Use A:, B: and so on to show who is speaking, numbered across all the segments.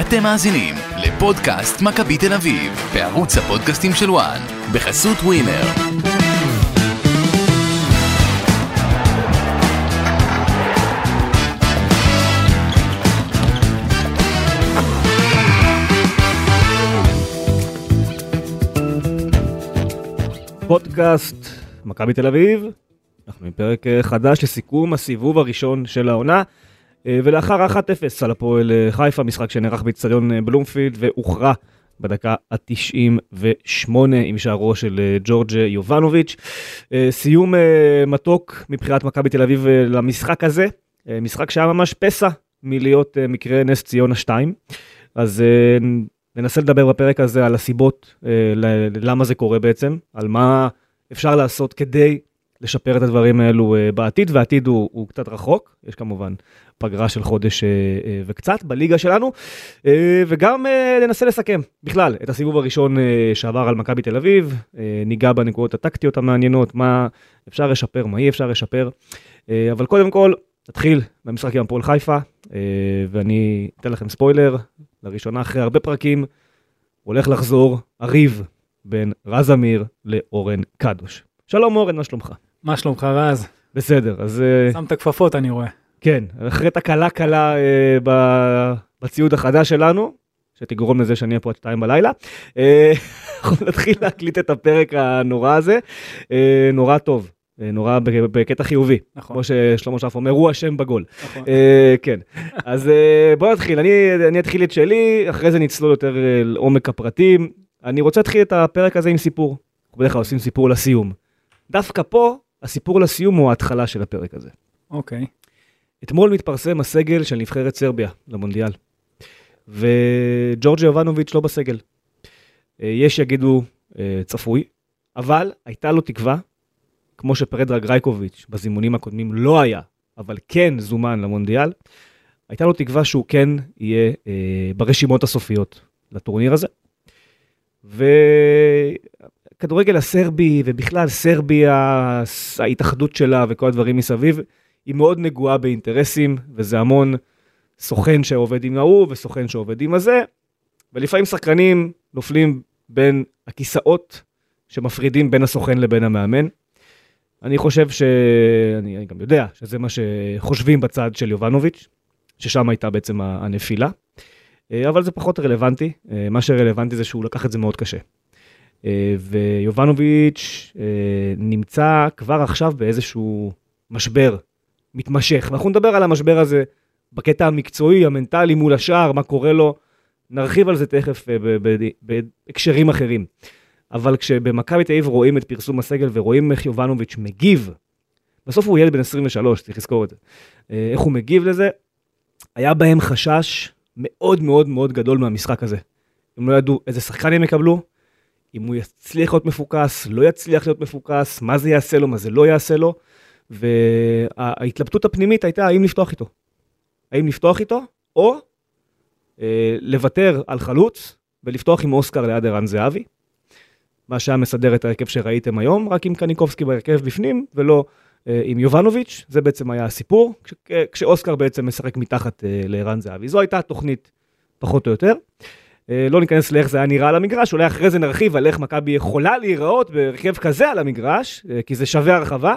A: אתם מאזינים לפודקאסט מכבי תל אביב, בערוץ הפודקאסטים של וואן, בחסות ווינר.
B: פודקאסט מכבי תל אביב. אנחנו עם פרק אה, חדש לסיכום הסיבוב הראשון של העונה, אה, ולאחר 1-0 על הפועל אה, חיפה, משחק שנערך באיצטדיון אה, בלומפילד והוכרע בדקה ה-98 עם שערו של אה, ג'ורג' יובנוביץ'. אה, סיום אה, מתוק מבחינת מכבי תל אביב אה, למשחק הזה, אה, משחק שהיה ממש פסע מלהיות אה, מקרה נס ציונה 2. אז אה, ננסה לדבר בפרק הזה על הסיבות אה, ל- למה זה קורה בעצם, על מה אפשר לעשות כדי לשפר את הדברים האלו אה, בעתיד, והעתיד הוא, הוא קצת רחוק, יש כמובן פגרה של חודש אה, אה, וקצת בליגה שלנו, אה, וגם אה, ננסה לסכם בכלל את הסיבוב הראשון אה, שעבר על מכבי תל אביב, אה, ניגע בנקודות הטקטיות המעניינות, מה אפשר לשפר, מה אי אפשר לשפר, אה, אבל קודם כל, נתחיל במשחק עם הפועל חיפה, אה, ואני אתן לכם ספוילר, לראשונה אחרי הרבה פרקים, הולך לחזור הריב בין רז אמיר לאורן קדוש. שלום אורן, מה שלומך?
C: מה שלומך רז?
B: בסדר, אז אה,
C: שמת כפפות אני רואה.
B: כן, אחרי תקלה קלה אה, ב- בציוד החדש שלנו, שתגרום לזה שאני אהיה פה עד שתיים בלילה, אה, אנחנו נתחיל להקליט את הפרק הנורא הזה, אה, נורא טוב, אה, נורא ב- בקטע חיובי,
C: נכון,
B: כמו ששלמה שרף אומר, הוא אשם בגול.
C: נכון.
B: אה, כן, אז אה, בוא נתחיל, אני, אני אתחיל את שלי, אחרי זה נצלול יותר אה, לעומק הפרטים. אני רוצה להתחיל את הפרק הזה עם סיפור. אנחנו בדרך כלל עושים סיפור לסיום. דווקא פה, הסיפור לסיום הוא ההתחלה של הפרק הזה.
C: אוקיי.
B: אתמול מתפרסם הסגל של נבחרת סרביה למונדיאל, וג'ורג'י יובנוביץ' לא בסגל. אה, יש יגידו אה, צפוי, אבל הייתה לו תקווה, כמו שפרדרה גרייקוביץ' בזימונים הקודמים לא היה, אבל כן זומן למונדיאל, הייתה לו תקווה שהוא כן יהיה אה, ברשימות הסופיות לטורניר הזה. וכדורגל הסרבי, ובכלל סרביה, ס- ההתאחדות שלה וכל הדברים מסביב, היא מאוד נגועה באינטרסים, וזה המון סוכן שעובד עם ההוא וסוכן שעובד עם הזה, ולפעמים שחקנים נופלים בין הכיסאות שמפרידים בין הסוכן לבין המאמן. אני חושב ש... אני אני גם יודע שזה מה שחושבים בצד של יובנוביץ', ששם הייתה בעצם ה- הנפילה. אה, אבל זה פחות רלוונטי, אה, מה שרלוונטי זה שהוא לקח את זה מאוד קשה. אה, ויובנוביץ' אה, נמצא כבר עכשיו באיזשהו משבר מתמשך. ואנחנו נדבר על המשבר הזה בקטע המקצועי, המנטלי, מול השאר, מה קורה לו. נרחיב על זה תכף אה, ב- ב- בהקשרים אחרים. אבל כשבמכבי תל אביב רואים את פרסום הסגל ורואים איך יובנוביץ' מגיב, בסוף הוא ילד בן 23, צריך לזכור את זה. אה, איך הוא מגיב לזה, היה בהם חשש מאוד מאוד מאוד גדול מהמשחק הזה. הם לא ידעו איזה שחקן הם יקבלו, אם הוא יצליח להיות מפוקס, לא יצליח להיות מפוקס, מה זה יעשה לו, מה זה לא יעשה לו. וההתלבטות הפנימית הייתה האם לפתוח איתו. האם לפתוח איתו, או אה, לוותר על חלוץ ולפתוח עם אוסקר ליד ערן זהבי, מה שהיה מסדר את ההרכב שראיתם היום, רק עם קניקובסקי בהרכב בפנים, ולא אה, עם יובנוביץ', זה בעצם היה הסיפור, כש, אה, כשאוסקר בעצם משחק מתחת אה, לערן זהבי. זו הייתה התוכנית, פחות או יותר. אה, לא ניכנס לאיך זה היה נראה על המגרש, אולי אחרי זה נרחיב על איך מכבי יכולה להיראות בהרכב כזה על המגרש, אה, כי זה שווה הרחבה,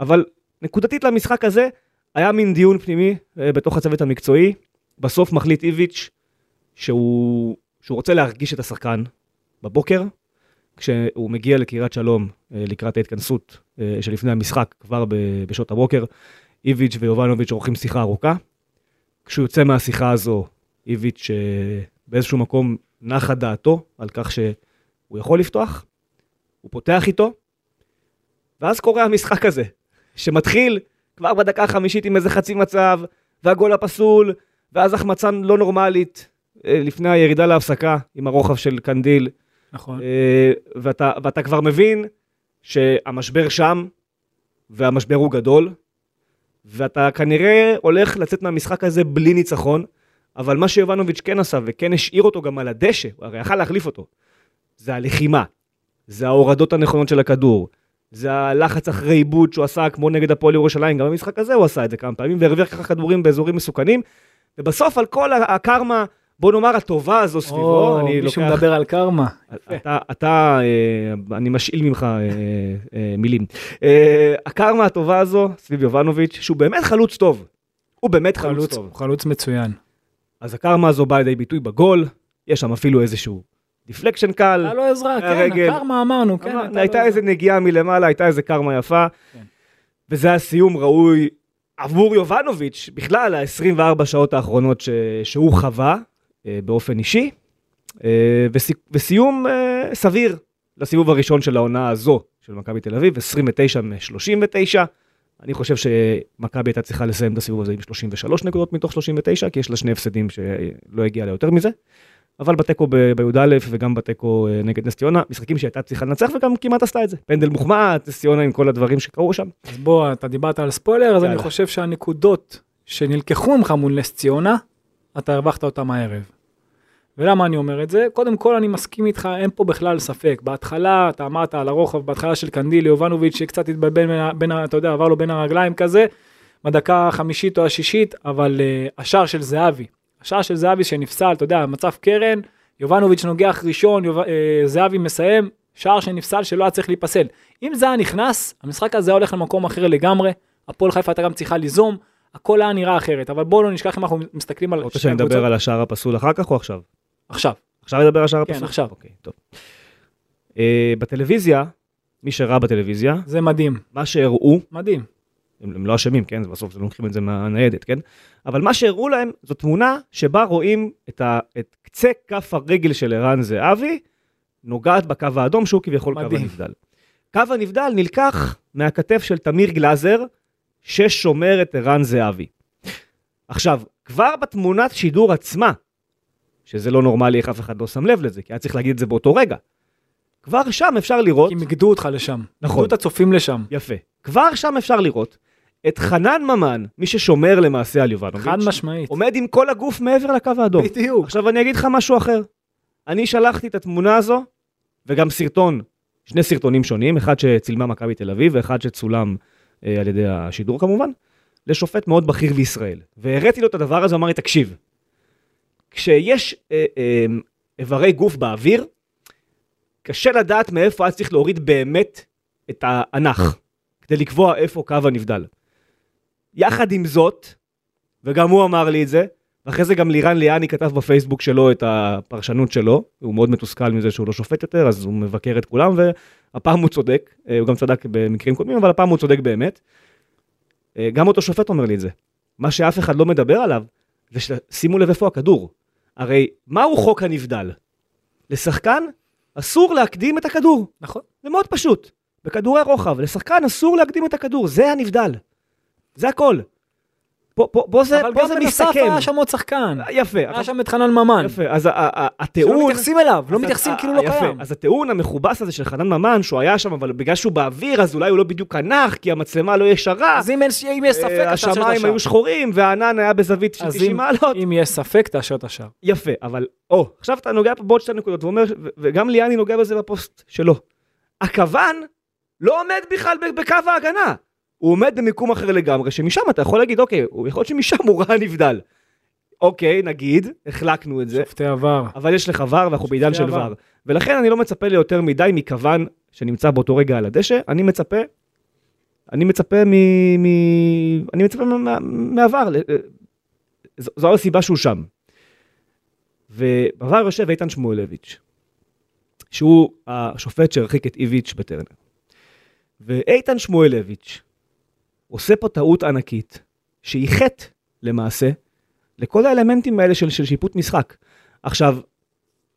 B: אבל נקודתית למשחק הזה, היה מין דיון פנימי אה, בתוך הצוות המקצועי, בסוף מחליט איביץ' שהוא, שהוא רוצה להרגיש את השחקן בבוקר, כשהוא מגיע לקריית שלום אה, לקראת ההתכנסות אה, שלפני המשחק, כבר ב- בשעות הבוקר, איביץ' ויובנוביץ' עורכים שיחה ארוכה. כשהוא יוצא מהשיחה הזו, איביץ' אה, באיזשהו מקום נחה דעתו על כך שהוא יכול לפתוח, הוא פותח איתו, ואז קורה המשחק הזה, שמתחיל כבר בדקה החמישית עם איזה חצי מצב, והגול הפסול, ואז החמצה לא נורמלית, אה, לפני הירידה להפסקה עם הרוחב של קנדיל,
C: נכון.
B: אה, ואתה, ואתה כבר מבין שהמשבר שם, והמשבר הוא גדול, ואתה כנראה הולך לצאת מהמשחק הזה בלי ניצחון, אבל מה שיובנוביץ' כן עשה, וכן השאיר אותו גם על הדשא, הוא הרי יכל להחליף אותו, זה הלחימה, זה ההורדות הנכונות של הכדור, זה הלחץ אחרי עיבוד שהוא עשה כמו נגד הפועל ירושלים, גם במשחק הזה הוא עשה את זה כמה פעמים, והרוויח ככה כדורים באזורים מסוכנים, ובסוף על כל הקרמה בוא נאמר הטובה הזו סביבו,
C: או,
B: אני
C: מישהו
B: לוקח,
C: מדבר על קרמה.
B: אתה, אתה, אה, אני משאיל ממך אה, אה, מילים. אה, הקרמה הטובה הזו סביב יובנוביץ', שהוא באמת חלוץ טוב. הוא באמת חלוץ
C: חלוץ,
B: טוב. אה.
C: חלוץ מצוין.
B: אז הקרמה הזו באה לידי ביטוי בגול, יש שם אפילו איזשהו דיפלקשן קל.
C: הייתה לו עזרה, כן,
B: הרגל.
C: הקרמה אמרנו, כן.
B: אה, אמר-
C: הייתה לו
B: הייתה
C: עזרה.
B: איזה נגיעה מלמעלה, הייתה איזה קרמה יפה,
C: כן.
B: וזה היה סיום ראוי עבור יובנוביץ', בכלל ה-24 שעות האחרונות ש... שהוא חווה אה, באופן אישי, אה, וסי... וסיום אה, סביר לסיבוב הראשון של העונה הזו של מכבי תל אביב, 29 מ-39. אני חושב שמכבי הייתה צריכה לסיים את הסיבוב הזה עם 33 נקודות מתוך 39, כי יש לה שני הפסדים שלא הגיעה לה יותר מזה. אבל בתיקו ב- בי"א וגם בתיקו אה, נגד נס ציונה, משחקים שהייתה צריכה לנצח וגם כמעט עשתה את זה. פנדל מוחמד, נס ציונה עם כל הדברים שקרו שם.
C: אז בוא, אתה דיברת על ספוילר, אז אני
B: יאללה.
C: חושב שהנקודות שנלקחו ממך מול נס ציונה, אתה הרווחת אותם הערב. ולמה אני אומר את זה? קודם כל אני מסכים איתך, אין פה בכלל ספק. בהתחלה, אתה אמרת על הרוחב, בהתחלה של קנדיל, יובנוביץ', שקצת התבלבל בין, ה- בין, ה- אתה יודע, עבר לו בין הרגליים כזה, בדקה החמישית או השישית, אבל uh, השער של זהבי, השער של זהבי שנפסל, אתה יודע, מצב קרן, יובנוביץ' נוגח ראשון, יוב... אה, זהבי מסיים, שער שנפסל שלא היה צריך להיפסל. אם זה היה נכנס, המשחק הזה היה הולך למקום אחר לגמרי, הפועל חיפה הייתה גם צריכה ליזום, הכל היה נראה אחרת, אבל בואו לא נשכח אם אנחנו מסתכלים על...
B: רוצה
C: שתי
B: שאני
C: הקבוצות-
B: אדבר על השער הפסול אחר כך או עכשיו?
C: עכשיו,
B: עכשיו נדבר על השער
C: כן,
B: הפסול?
C: עכשיו.
B: אוקיי, טוב. אה, בטלוויזיה, מי שראה בטלוויזיה,
C: זה מדהים,
B: מה שהראו,
C: מדהים.
B: הם, הם לא אשמים, כן? זה בסוף הם לוקחים את זה מהניידת, כן? אבל מה שהראו להם זו תמונה שבה רואים את, ה, את קצה כף הרגל של ערן זהבי, נוגעת בקו האדום שהוא כביכול קו
C: מדהים.
B: הנבדל. קו הנבדל נלקח מהכתף של תמיר גלאזר, ששומר את ערן זהבי. עכשיו, כבר בתמונת שידור עצמה, שזה לא נורמלי איך אף אחד לא שם לב לזה, כי היה צריך להגיד את זה באותו רגע. כבר שם אפשר לראות...
C: כי הם איגדו אותך לשם.
B: נכון.
C: איגדו את הצופים לשם.
B: יפה. כבר שם אפשר לראות את חנן ממן, מי ששומר למעשה על יובנוביץ',
C: חד משמעית.
B: עומד עם כל הגוף מעבר לקו האדום.
C: בדיוק.
B: עכשיו אני אגיד לך משהו אחר. אני שלחתי את התמונה הזו, וגם סרטון, שני סרטונים שונים, אחד שצילמה מכבי תל אביב ואחד שצולם אה, על ידי השידור כמובן, לשופט מאוד בכיר בישראל. והראיתי לו את הדבר הזה, הוא אמר לי, תקשיב, כשיש אה, אה, איברי גוף באוויר, קשה לדעת מאיפה היה צריך להוריד באמת את האנך, כדי לקבוע איפה קו הנבדל. יחד עם זאת, וגם הוא אמר לי את זה, ואחרי זה גם לירן ליאני כתב בפייסבוק שלו את הפרשנות שלו, הוא מאוד מתוסכל מזה שהוא לא שופט יותר, אז הוא מבקר את כולם, והפעם הוא צודק, אה, הוא גם צדק במקרים קודמים, אבל הפעם הוא צודק באמת. אה, גם אותו שופט אומר לי את זה. מה שאף אחד לא מדבר עליו, זה ששימו לב איפה הכדור. הרי מהו חוק הנבדל? לשחקן אסור להקדים את הכדור.
C: נכון.
B: זה מאוד פשוט. בכדורי רוחב, לשחקן אסור להקדים את הכדור, זה הנבדל. זה הכל. פה, פה, פה זה,
C: אבל
B: פה
C: גם
B: זה
C: בנוסף
B: מסתכם.
C: היה שם עוד שחקן.
B: יפה,
C: היה
B: עכשיו-
C: שם את חנן ממן.
B: יפה, אז ה- ה- ה-
C: שלא
B: הטיעון...
C: מתייחסים אליו, לא
B: אז
C: מתייחסים
B: ה-
C: כאילו לא
B: אה, יפה,
C: קיים.
B: אז הטיעון המכובס הזה של חנן ממן, שהוא היה שם, אבל בגלל שהוא באוויר, אז אולי הוא לא בדיוק הנח, כי המצלמה לא ישרה,
C: אז אם אין- אם יש ספק,
B: אה,
C: אתה שאלת
B: השמיים
C: שם.
B: היו שחורים, והענן היה בזווית של
C: אז
B: 90
C: אם-
B: מעלות.
C: אם יש ספק, תאשר את השער.
B: יפה, אבל, או, עכשיו אתה נוגע פה בעוד שתי נקודות, ואומר, ו- וגם ליאני נוגע בזה בפוסט שלו. הכוון לא עומד בכלל ב- בקו ההגנה. הוא עומד במיקום אחר לגמרי, שמשם אתה יכול להגיד, אוקיי, הוא- יכול להיות שמשם הוא ראה נבדל. אוקיי, נגיד, החלקנו את זה,
C: שופטי עבר.
B: אבל יש לך ור ואנחנו בעידן של
C: עבר.
B: ור. ולכן אני לא מצפה ליותר מדי מכוון שנמצא באותו רגע על הדשא, אני מצפה, אני מצפה מ... מ אני מצפה מה- מה- מהוור, ל- אה, זו- זו הסיבה שהוא שם. ובוור יושב איתן שמואלביץ', שהוא השופט שהרחיק את איביץ' בטרנר. ואיתן שמואלביץ' עושה פה טעות ענקית, שהיא חטא למעשה, לכל האלמנטים האלה של, של שיפוט משחק. עכשיו,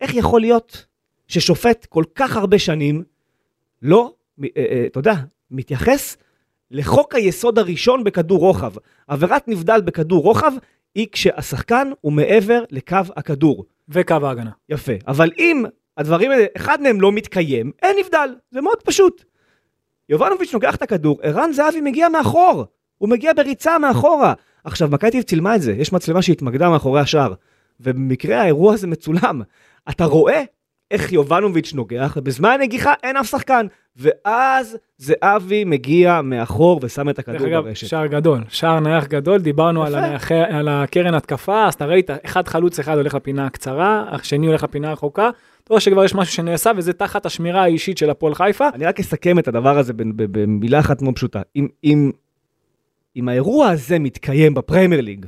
B: איך יכול להיות ששופט כל כך הרבה שנים לא, מ- אה, אה, אתה יודע, מתייחס לחוק היסוד הראשון בכדור רוחב. עבירת נבדל בכדור רוחב היא כשהשחקן הוא מעבר לקו הכדור.
C: וקו ההגנה.
B: יפה. אבל אם הדברים האלה, אחד מהם לא מתקיים, אין נבדל. זה מאוד פשוט. יובנוביץ' נוגח את הכדור, ערן זהבי מגיע מאחור. הוא מגיע בריצה מאחורה. עכשיו, מכבי תל אביב צילמה את זה, יש מצלמה שהתמקדה מאחורי השער. ובמקרה האירוע הזה מצולם. אתה רואה איך יובנוביץ' נוגח, ובזמן הנגיחה אין אף שחקן. ואז זהבי מגיע מאחור ושם את
C: דרך
B: הכדור
C: אגב,
B: ברשת.
C: שער גדול, שער נייח גדול, דיברנו על,
B: יפה.
C: הנייחי- על הקרן התקפה, אז אתה ראית, אחד חלוץ אחד הולך לפינה הקצרה, השני הולך לפינה הרחוקה, אתה רואה שכבר יש משהו שנעשה, וזה תחת השמירה האישית של הפועל חיפה.
B: אני רק אסכם את הדבר הזה ב- ב- במילה אחת מאוד פשוטה. אם, אם, אם האירוע הזה מתקיים בפרמייר ליג,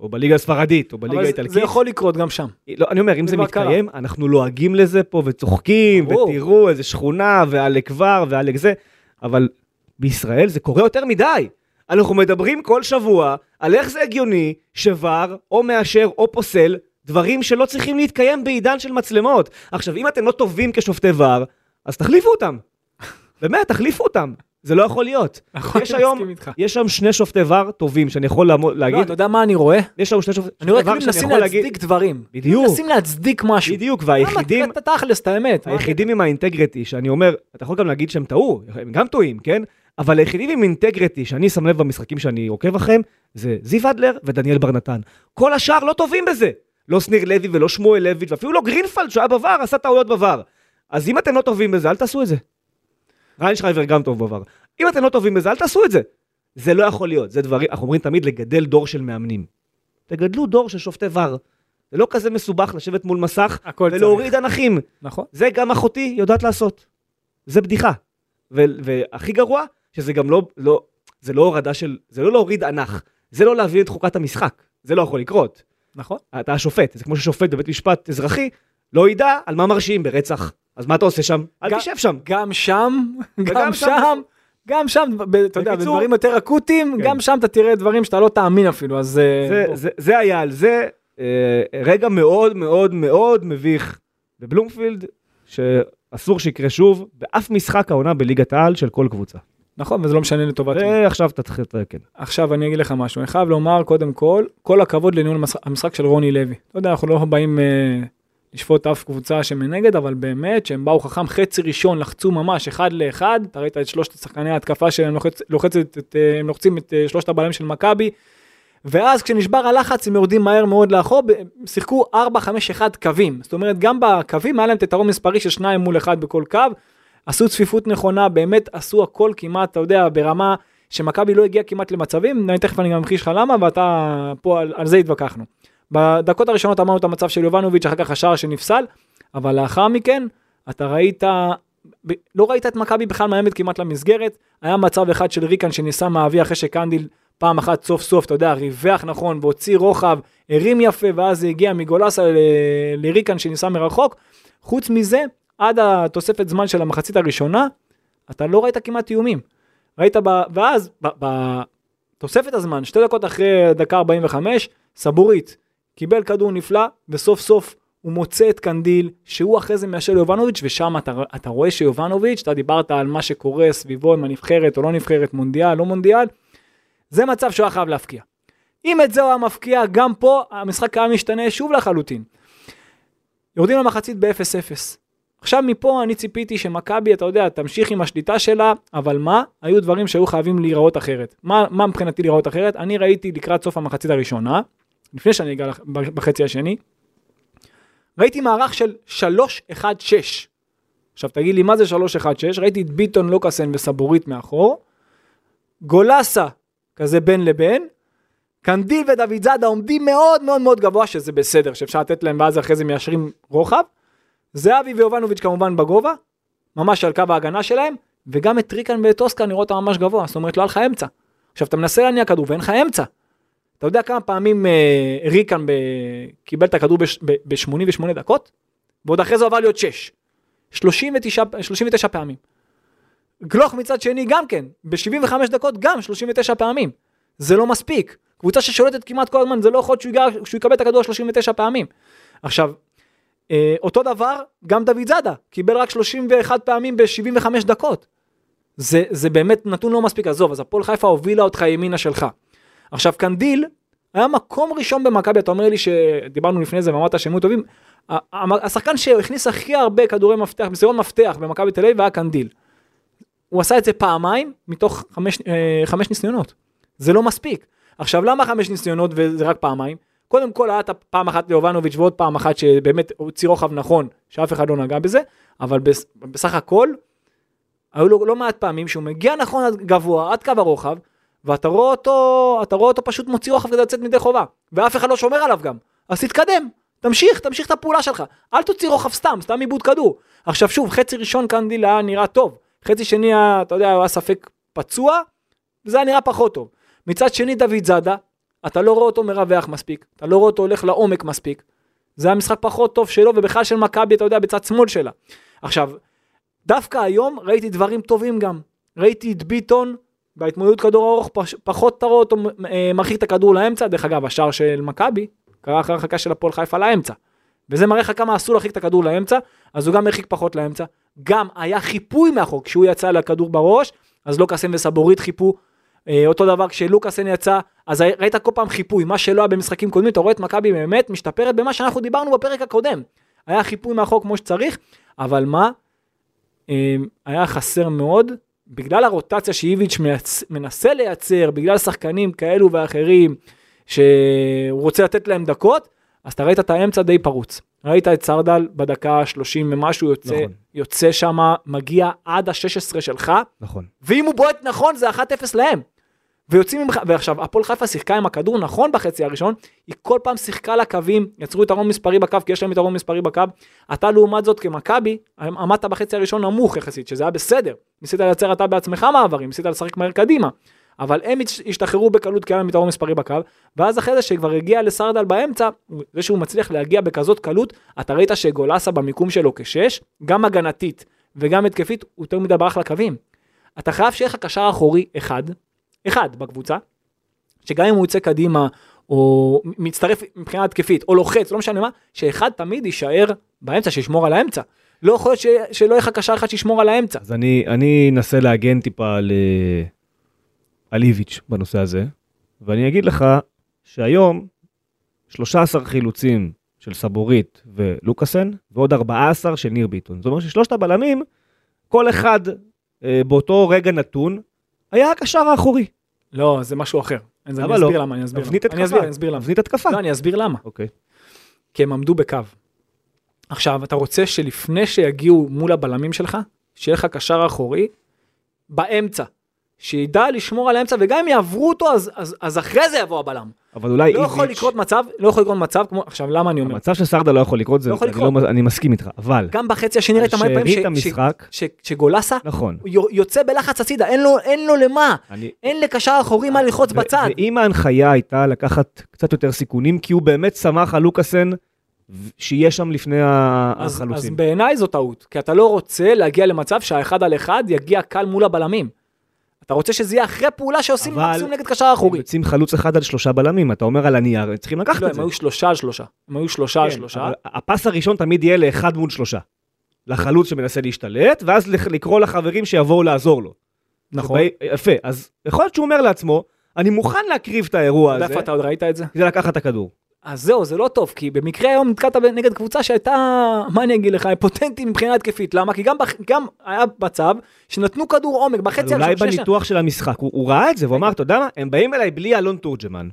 B: או בליגה הספרדית, או בליגה
C: אבל זה-
B: האיטלקית,
C: זה יכול לקרות גם שם.
B: לא, אני אומר, אם
C: זה
B: זה
C: כבר קרה.
B: מתקיים, אנחנו לועגים לזה פה וצוחקים,
C: ברור.
B: ותראו איזה שכונה, ועלק כבר, ועלק זה, אבל בישראל זה קורה יותר מדי. אנחנו מדברים כל שבוע על איך זה הגיוני שוואר או מאשר או פוסל דברים שלא צריכים להתקיים בעידן של מצלמות. עכשיו, אם אתם לא טובים כשופטי וואר, אז תחליפו אותם. באמת, תחליפו אותם. זה לא יכול להיות.
C: נכון,
B: יש
C: אני
B: היום-
C: מסכים איתך.
B: יש שם שני שופטי וואר טובים שאני יכול לעמוד-
C: לא,
B: להגיד,
C: אתה יודע מה אני רואה?
B: יש שם שני שופטי
C: אני רואה כאילו
B: וואר שאני
C: מנסים
B: יכול להגיד,
C: להצדיק דברים.
B: בדיוק.
C: מנסים להצדיק משהו.
B: בדיוק,
C: היחידים...
B: והיחידים,
C: אתה תכלס, את האמת. מה-
B: היחידים עם האינטגריטי, שאני אומר, אתה יכול גם להגיד שהם טעו, הם גם טועים, כן? אבל היחידים עם אינטגריטי שאני שם לב במשחקים שאני עוקב אחריהם, זה זיו אדלר ודניאל בר נתן. כל השאר לא טובים בזה. לא שניר לוי ולא שמואל לויץ' ואפילו לא גרינפלד שהיה בוואר, עשה טעויות בוואר. אז אם אתם לא טובים בזה, אל תעשו את זה. ריינשרייבר גם טוב בוואר. אם אתם לא טובים בזה, אל תעשו את זה. זה לא יכול להיות, זה דברים, אנחנו אומרים תמיד לגדל דור של מאמנים. תגדלו דור של שופטי וואר. זה לא כזה מסובך לשבת מול מסך
C: הכל צריך.
B: ולהוריד אנכים.
C: נכון.
B: זה גם אחותי יודעת לעשות. זה בדיחה. ו- והכי גרוע, שזה גם לא, לא, זה לא הורדה של, זה לא להוריד אנך, זה לא להבין את חוקת המשחק, זה לא יכול לקרות.
C: נכון.
B: אתה השופט, זה כמו ששופט בבית משפט אזרחי, לא ידע על מה מרשיעים ברצח. אז מה אתה עושה שם? אל
C: גם-
B: תשב שם.
C: גם שם,
B: וגם
C: גם
B: שם.
C: שם, גם שם, ב- אתה יודע,
B: בקיצור-
C: בדברים יותר אקוטיים,
B: כן.
C: גם שם אתה תראה דברים שאתה לא תאמין אפילו, אז... אה,
B: זה,
C: בוא.
B: זה, זה היה על זה אה, רגע מאוד מאוד מאוד מביך בבלומפילד, שאסור שיקרה שוב באף משחק העונה בליגת העל של כל קבוצה.
C: נכון, וזה לא משנה לטובת מי.
B: ועכשיו תתחיל, כן.
C: עכשיו אני אגיד לך משהו, אני חייב לומר קודם כל, כל הכבוד לניהול המש- המשחק של רוני לוי. אתה יודע, אנחנו לא באים אה, לשפוט אף קבוצה שמנגד, אבל באמת שהם באו חכם חצי ראשון, לחצו ממש אחד לאחד, אתה ראית את שלושת שחקני ההתקפה שלהם לוחצ, לוחצת, את, אה, הם לוחצים את אה, שלושת הבעלים של מכבי, ואז כשנשבר הלחץ הם יורדים מהר מאוד לאחור, ב- הם שיחקו 4-5-1 קווים, זאת אומרת גם בקווים היה להם את היתרון מספרי של שניים מול אחד בכל קו, עשו צפיפות נכונה, באמת עשו הכל כמעט, אתה יודע, ברמה שמכבי לא הגיעה כמעט למצבים, אני תכף אני גם אמחיש לך למה, ואתה, פה על, על זה התווכחנו. בדקות הראשונות אמרנו את המצב של יובנוביץ', אחר כך השער שנפסל, אבל לאחר מכן, אתה ראית, ב- לא ראית את מכבי בכלל מאיימת כמעט למסגרת, היה מצב אחד של ריקן שניסה מהאוויר אחרי שקנדיל פעם אחת סוף סוף, אתה יודע, ריווח נכון, והוציא רוחב, הרים יפה, ואז זה הגיע מגולסה ל- לריקן שניסה מרחוק. חוץ מזה, עד התוספת זמן של המחצית הראשונה, אתה לא ראית כמעט איומים. ראית ב... ואז ב- בתוספת הזמן, שתי דקות אחרי דקה 45, סבורית קיבל כדור נפלא, וסוף סוף הוא מוצא את קנדיל, שהוא אחרי זה מאשר ליובנוביץ', ושם אתה, אתה רואה שיובנוביץ', אתה דיברת על מה שקורה סביבו עם הנבחרת או לא נבחרת, מונדיאל, לא מונדיאל, זה מצב שהוא היה חייב להפקיע. אם את זה הוא היה מפקיע, גם פה המשחק היה משתנה שוב לחלוטין. יורדים למחצית ב-0-0. עכשיו מפה אני ציפיתי שמכבי, אתה יודע, תמשיך עם השליטה שלה, אבל מה? היו דברים שהיו חייבים להיראות אחרת. מה, מה מבחינתי להיראות אחרת? אני ראיתי לקראת סוף המחצית הראשונה, לפני שאני אגע לח- ב- בחצי השני, ראיתי מערך של 3-1-6. עכשיו תגיד לי, מה זה 3-1-6? ראיתי את ביטון, לוקאסן וסבורית מאחור, גולסה, כזה בין לבין, קנדיל ודוד זאדה עומדים מאוד מאוד מאוד גבוה, שזה בסדר, שאפשר לתת להם, ואז אחרי זה מיישרים רוחב. זהבי ויובנוביץ' כמובן בגובה, ממש על קו ההגנה שלהם, וגם את טריקן ואת אוסקר נראה אותם ממש גבוה, זאת אומרת לא היה לך אמצע. עכשיו אתה מנסה להניע כדור ואין לך אמצע. אתה יודע כמה פעמים אה, ריקן ב... קיבל את הכדור ב-88 דקות? ועוד אחרי זה עבר להיות 6. 39, 39 פעמים. גלוך מצד שני גם כן, ב-75 דקות גם 39 פעמים. זה לא מספיק. קבוצה ששולטת כמעט כל הזמן, זה לא יכול להיות שהוא, ייגע- שהוא יקבל את הכדור 39 פעמים. עכשיו, אה, אותו דבר, גם דוד זאדה, קיבל רק 31 פעמים ב-75 דקות. זה, זה באמת נתון לא מספיק, עזוב, אז הפועל חיפה הובילה אותך ימינה שלך. עכשיו, קנדיל היה מקום ראשון במכבי, אתה אומר לי שדיברנו לפני זה ואמרת שהם היו טובים, ה- ה- השחקן שהכניס הכי הרבה כדורי מפתח, מסירות מפתח במכבי תל אביב היה קנדיל. הוא עשה את זה פעמיים מתוך חמש, אה, חמש ניסיונות. זה לא מספיק. עכשיו, למה חמש ניסיונות וזה רק פעמיים? קודם כל היה את פעם אחת ליובנוביץ' ועוד פעם אחת שבאמת הוציא רוחב נכון, שאף אחד לא נגע בזה, אבל בס- בסך הכל, היו לו לא מעט פעמים שהוא מגיע נכון עד גבוה, עד קו הרוחב, ואתה רואה אותו, אתה רואה אותו פשוט מוציא רוחב כדי לצאת מידי חובה, ואף אחד לא שומר עליו גם, אז תתקדם, תמשיך, תמשיך את הפעולה שלך, אל תוציא רוחב סתם, סתם עיבוד כדור. עכשיו שוב, חצי ראשון קנדיל היה נראה טוב, חצי שני, היה, אתה יודע, הוא היה ספק פצוע, זה היה נראה פחות טוב. מצד שני, דוד זאדה, אתה לא רואה אותו מרווח מספיק, אתה לא רואה אותו הולך לעומק מספיק. זה היה משחק פחות טוב שלו, ובכלל של מכבי, אתה יודע, בצד שמאל שלה. עכשיו, דווקא היום ראיתי דברים טובים גם. ראיתי את ביטון בהתמודדות כדור ארוך, פש, פחות אתה רואה אותו מ- אה, מרחיק את הכדור לאמצע. דרך אגב, השער של מכבי קרה אחרי הרחקה של הפועל חיפה לאמצע. וזה מראה לך כמה אסור להרחיק את הכדור לאמצע, אז הוא גם הרחיק פחות לאמצע. גם היה חיפוי מהחוק, כשהוא יצא לכדור בראש, אז לוקאסן וסבורית חיפו. אה, אותו דבר כשלוקאסן יצא, אז ראית כל פעם חיפוי, מה שלא היה במשחקים קודמים, אתה רואה את מכבי באמת משתפרת במה שאנחנו דיברנו בפרק הקודם. היה חיפוי מהחוק כמו שצריך, אבל מה? אה, היה חסר מאוד, בגלל הרוטציה שאיביץ' מייצ... מנסה לייצר, בגלל שחקנים כאלו ואחרים, שהוא רוצה לתת להם דקות, אז אתה ראית את האמצע די פרוץ. ראית את סרדל בדקה ה-30 ומשהו יוצא,
B: נכון.
C: נכון. יוצא שם, מגיע עד ה-16 שלך,
B: נכון.
C: ואם הוא בועט נכון זה 1-0 להם. ויוצאים ממך, ועכשיו הפועל חיפה שיחקה עם הכדור נכון בחצי הראשון, היא כל פעם שיחקה לקווים, יצרו יתרון מספרי בקו, כי יש להם יתרון מספרי בקו. אתה לעומת זאת כמכבי, עמדת בחצי הראשון נמוך יחסית, שזה היה בסדר. ניסית לייצר אתה בעצמך מעברים, ניסית לשחק מהר קדימה. אבל הם הש- השתחררו בקלות כי היה להם יתרון מספרי בקו, ואז אחרי זה שכבר הגיע לסרדל באמצע, זה שהוא מצליח להגיע בכזאת קלות, אתה ראית שגולסה במיקום שלו כשש, גם הגנתית וגם התקפית, הוא יותר מדי ברח לקווים. אתה חייב שיהיה לך קשר אחורי אחד, אחד בקבוצה, שגם אם הוא יוצא קדימה, או מצטרף מבחינה התקפית, או לוחץ, לא משנה מה, שאחד תמיד יישאר באמצע, שישמור על האמצע. לא יכול להיות ש- שלא יהיה לך קשר אחד שישמור על האמצע.
B: אז אני, אני אנסה להגן טיפה על, אה, על איביץ' בנושא הזה, ואני אגיד לך שהיום 13 חילוצים של סבורית ולוקאסן, ועוד 14 של ניר ביטון. זאת אומרת ששלושת הבלמים, כל אחד אה, באותו רגע נתון, היה הקשר האחורי.
C: לא, זה משהו אחר. אז אני
B: למה לא?
C: אסביר למה, אני אסביר למה.
B: אבנית התקפה.
C: אני אסביר, אני אסביר למה.
B: אבנית התקפה.
C: לא, אני אסביר למה.
B: אוקיי.
C: כי הם עמדו בקו. עכשיו, אתה רוצה שלפני שיגיעו מול הבלמים שלך, שיהיה לך קשר אחורי באמצע. שידע לשמור על האמצע, וגם אם יעברו אותו, אז, אז, אז אחרי זה יבוא הבלם.
B: אבל אולי
C: לא
B: איביץ'...
C: יכול לקרות מצב, לא יכול לקרות מצב, כמו, עכשיו למה אני אומר?
B: המצב של סרדה לא יכול לקרות, זה,
C: לא יכול
B: אני,
C: לקרות.
B: לא, אני מסכים איתך, אבל...
C: גם בחצי השני ראית מלא פעמים
B: שארית
C: ש- ש-
B: המשחק,
C: ש- שגולסה
B: נכון.
C: יו- יוצא בלחץ הצידה, אין לו, אין לו למה,
B: אני,
C: אין לקשר אחורי מה ללחוץ
B: אה, ו-
C: בצד.
B: ואם ההנחיה הייתה לקחת קצת יותר סיכונים, כי הוא באמת סמך על לוקאסן, ו- שיהיה שם לפני ה-
C: אז, אז
B: החלוצים.
C: בעיניי זו טעות, כי אתה לא רוצה להגיע למצב שהאחד על אחד יגיע קל מול הבלמים. אתה רוצה שזה יהיה אחרי פעולה שעושים
B: אבל-
C: מקסימום נגד קשר
B: הם
C: אחורי.
B: יוצאים חלוץ אחד על שלושה בלמים, אתה אומר על הנייר, הם צריכים לקחת
C: לא,
B: את
C: הם
B: זה.
C: היו שלושה על שלושה. הם היו שלושה על
B: כן,
C: שלושה.
B: אבל הפס הראשון תמיד יהיה לאחד מול שלושה. לחלוץ שמנסה להשתלט, ואז לח- לקרוא לחברים שיבואו לעזור לו.
C: נכון.
B: שבא- יפה, אז יכול להיות שהוא אומר לעצמו, אני מוכן להקריב את האירוע
C: אתה יודע
B: הזה,
C: איפה אתה עוד ראית את זה?
B: כדי לקחת את הכדור.
C: אז זהו, זה לא טוב, כי במקרה היום נתקעת ב- נגד קבוצה שהייתה, מה אני אגיד לך, פוטנטית מבחינה התקפית. למה? כי גם, בח- גם היה מצב שנתנו כדור עומק בחצי
B: אבל אולי
C: שיש-
B: בניתוח של המשחק, הוא, הוא ראה את זה, והוא אמר, אתה יודע מה, הם באים אליי בלי אלון תורג'מן.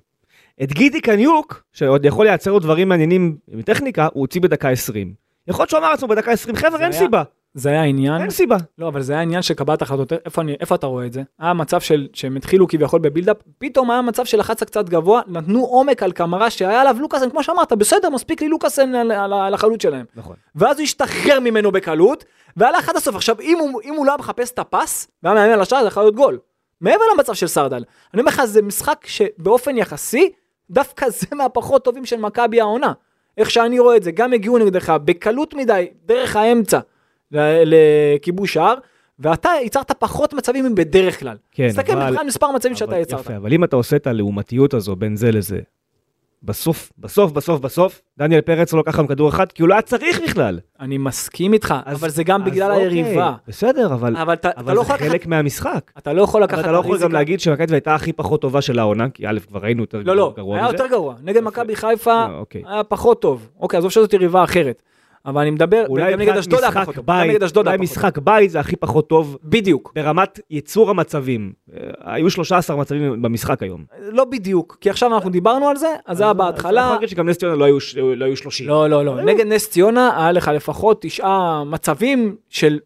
B: את גידי קניוק, שעוד יכול לייצר עוד דברים מעניינים מטכניקה, הוא הוציא בדקה 20. יכול להיות שהוא אמר לעצמו בדקה 20, חבר'ה,
C: זה
B: אין
C: היה-
B: סיבה,
C: זה היה עניין.
B: אין סיבה.
C: לא, אבל זה היה עניין של קבלת החלטות, איפה, אני, איפה אתה רואה את זה? היה מצב של, שהם התחילו כביכול בבילדאפ, פתאום היה מצב שלחצת קצת גבוה, נתנו עומק על קמרה שהיה עליו לוקאסן, כמו שאמרת, בסדר, מספיק לי לוקאסן על, על, על החלוץ שלהם.
B: נכון.
C: ואז הוא השתחרר ממנו בקלות, והלך עד הסוף. עכשיו, אם הוא, אם הוא לא היה מחפש את הפס, והיה מאמן על השער, זה יכול להיות גול. מעבר למצב של סרדל. אני אומר לך, זה משחק שבאופן יחסי, דווקא זה מהפחות טובים של מכבי העונה. איך שאני רואה את זה, גם הגיעו נגדך בקלות מדי, דרך האמצע, ל- לכיבוש שער, ואתה ייצרת פחות מצבים מבדרך כלל.
B: כן,
C: תסתכל
B: אבל-
C: בכלל מספר מצבים
B: אבל-
C: שאתה יצרת.
B: יפה, אבל אם אתה עושה את הלעומתיות הזו בין זה לזה, בסוף, בסוף, בסוף, בסוף, דניאל פרץ לא לקח לנו כדור אחד, כי הוא לא היה צריך בכלל.
C: אני מסכים איתך,
B: אז-
C: אבל זה גם
B: אז
C: בגלל
B: אוקיי,
C: היריבה.
B: בסדר, אבל
C: אבל אתה-
B: אבל
C: אתה
B: זה
C: לא יכול לקחת...
B: חלק מהמשחק.
C: אתה לא יכול לקחת...
B: אבל אתה לא יכול
C: ריזיקה.
B: גם להגיד שמכבי הייתה הכי פחות טובה של העונה, כי א', כבר ראינו יותר
C: לא,
B: גרוע
C: לא,
B: מזה.
C: היה יותר גרוע. נגד
B: יפה.
C: מכבי חיפה
B: אה, אוקיי.
C: היה פחות טוב. אוקיי, עזוב שזאת יריבה אחרת. אבל אני מדבר,
B: אולי
C: גם נגד
B: מבחינת
C: אשדוד היה
B: משחק
C: פחות טוב, גם
B: בית,
C: נגד אשדוד
B: אולי
C: היה פחות טוב.
B: משחק בית זה הכי פחות טוב
C: בדיוק.
B: ברמת ייצור המצבים. אה, היו 13 מצבים במשחק היום.
C: לא בדיוק, כי עכשיו אנחנו דיברנו על זה, אז זה
B: אה,
C: היה בהתחלה.
B: אני יכול להגיד שגם נס ציונה לא היו ש- לא היו 30.
C: לא, לא, לא. נגד נס ציונה היה לך לפחות תשעה מצבים של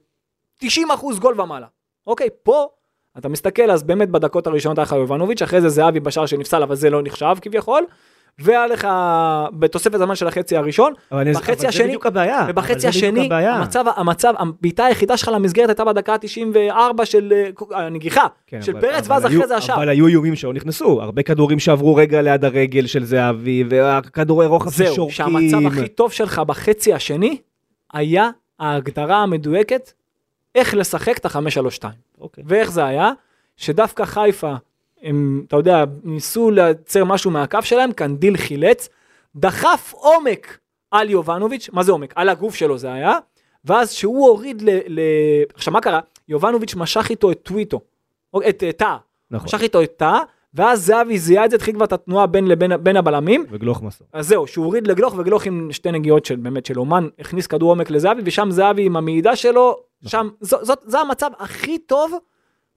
C: 90 אחוז גול ומעלה. אוקיי, פה אתה מסתכל, אז באמת בדקות הראשונות היה לך יובנוביץ', אחרי זה זהבי בשער שנפסל, אבל זה לא נחשב כביכול. והיה לך בתוספת הזמן של החצי הראשון,
B: אבל אני-
C: בחצי
B: אבל זה
C: השני-
B: בדיוק הבעיה. אבל
C: ובחצי
B: זה בדיוק
C: השני,
B: הבעיה.
C: המצב, המצב, הבעיטה היחידה שלך למסגרת הייתה בדקה ה-94 של אה, הנגיחה,
B: כן,
C: של
B: אבל-
C: פרץ,
B: אבל
C: ואז
B: היו-
C: אחרי זה השער.
B: אבל היו איומים שלא נכנסו, הרבה כדורים שעברו רגע ליד הרגל של זהבי, והכדורי רוחב
C: זהו,
B: ששורקים.
C: שהמצב הכי טוב שלך בחצי השני, היה ההגדרה המדויקת איך לשחק את ה-532.
B: אוקיי.
C: ואיך זה היה? שדווקא חיפה, הם, אתה יודע, ניסו לייצר משהו מהקו שלהם, קנדיל חילץ, דחף עומק על יובנוביץ', מה זה עומק? על הגוף שלו זה היה, ואז שהוא הוריד ל... ל... עכשיו, מה קרה? יובנוביץ' משך איתו את טוויטו, או את אה, טאה,
B: נכון,
C: משך איתו את טאה, ואז זהבי זיהה את זה, התחיל כבר את התנועה בין, לבין, בין הבלמים,
B: וגלוך מסור.
C: אז זהו, שהוא הוריד לגלוך, וגלוך עם שתי נגיעות של באמת של אומן, הכניס כדור עומק לזהבי, ושם זהבי עם המעידה שלו, שם, זו- זאת, זה המצב הכי טוב,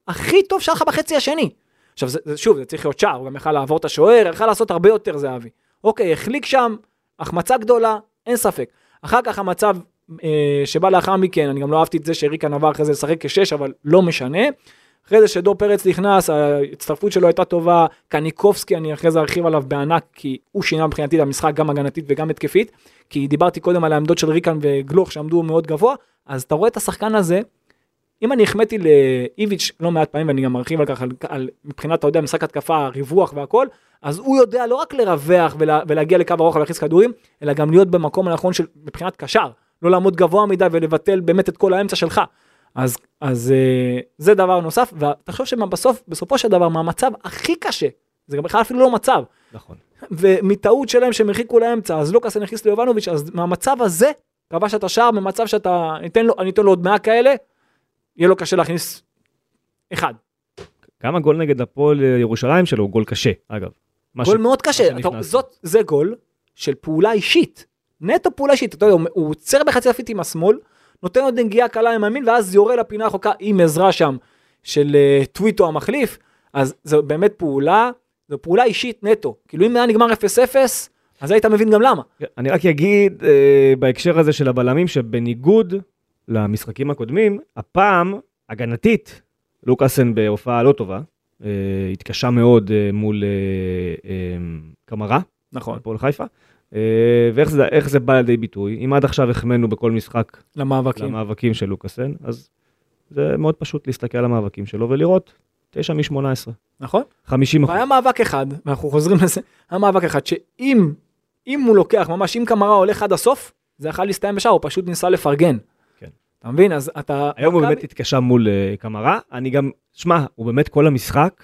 C: הכי טוב שהיה לך בחצי השני. עכשיו, זה, זה, שוב, זה צריך להיות שער, הוא גם יכל לעבור את השוער, יכל לעשות הרבה יותר זהבי. אוקיי, החליק שם, החמצה גדולה, אין ספק. אחר כך המצב אה, שבא לאחר מכן, אני גם לא אהבתי את זה שריקן עבר אחרי זה לשחק כשש, אבל לא משנה. אחרי זה שדור פרץ נכנס, ההצטרפות שלו הייתה טובה, קניקובסקי, אני אחרי זה ארחיב עליו בענק, כי הוא שינה מבחינתי את המשחק גם הגנתית וגם התקפית, כי דיברתי קודם על העמדות של ריקן וגלוך שעמדו מאוד גבוה, אז אתה רואה את השחקן הזה, אם אני החמאתי לאיביץ' לא מעט פעמים, ואני גם ארחיב על כך, על, על, מבחינת, אתה יודע, משחק התקפה, הריווח והכל, אז הוא יודע לא רק לרווח ולה, ולהגיע לקו הרוחב ולהכניס כדורים, אלא גם להיות במקום הנכון של, מבחינת קשר, לא לעמוד גבוה מדי ולבטל באמת את כל האמצע שלך. אז, אז אה, זה דבר נוסף, ותחשוב שבסוף, בסופו של דבר, מהמצב הכי קשה, זה גם בכלל אפילו לא מצב,
B: נכון.
C: ומטעות שלהם שהם הרחיקו לאמצע, אז לוקאסן הכניס ליובנוביץ', אז מהמצב הזה, כבש את השער, במצב שאתה, אני אתן לו, אני אתן לו עוד 100 כאלה, יהיה לו קשה להכניס אחד.
B: גם הגול נגד הפועל אה, ירושלים שלו הוא גול קשה, אגב. מה
C: גול
B: ש-
C: מאוד קשה,
B: שנכנס.
C: אתה, זאת, זה גול של פעולה אישית, נטו פעולה אישית, אתה יודע, הוא- הוא עוצר בחצי הפית עם השמאל, נותן עוד נגיעה קלה עם הימין, ואז יורה לפינה החוקה עם עזרה שם של אה, טוויטו המחליף, אז זו באמת פעולה, זו פעולה אישית נטו, כאילו אם היה נגמר 0-0, אז היית מבין גם למה.
B: אני רק אגיד אה, בהקשר הזה של הבלמים, שבניגוד למשחקים הקודמים, הפעם, הגנתית, לוקאסן בהופעה לא טובה, אה, התקשה מאוד אה, מול אה, אה, קמרה,
C: נכון.
B: הפועל חיפה. אה, ואיך זה, איך זה בא לידי ביטוי? אם עד עכשיו החמאנו בכל משחק
C: למאבקים.
B: למאבקים של לוקאסן, אז זה מאוד פשוט להסתכל על המאבקים שלו ולראות 9 מ-18,
C: נכון?
B: 50 אחוז.
C: והיה מאבק אחד, ואנחנו חוזרים לזה, היה מאבק אחד שאם, אם הוא לוקח, ממש אם קמרה הולך עד הסוף, זה יכול להסתיים בשער, הוא פשוט ניסה לפרגן.
B: כן.
C: אתה מבין? אז אתה...
B: היום הוא
C: מכבי-
B: באמת התקשה מול אה, קמרה, אני גם, שמע, הוא באמת כל המשחק,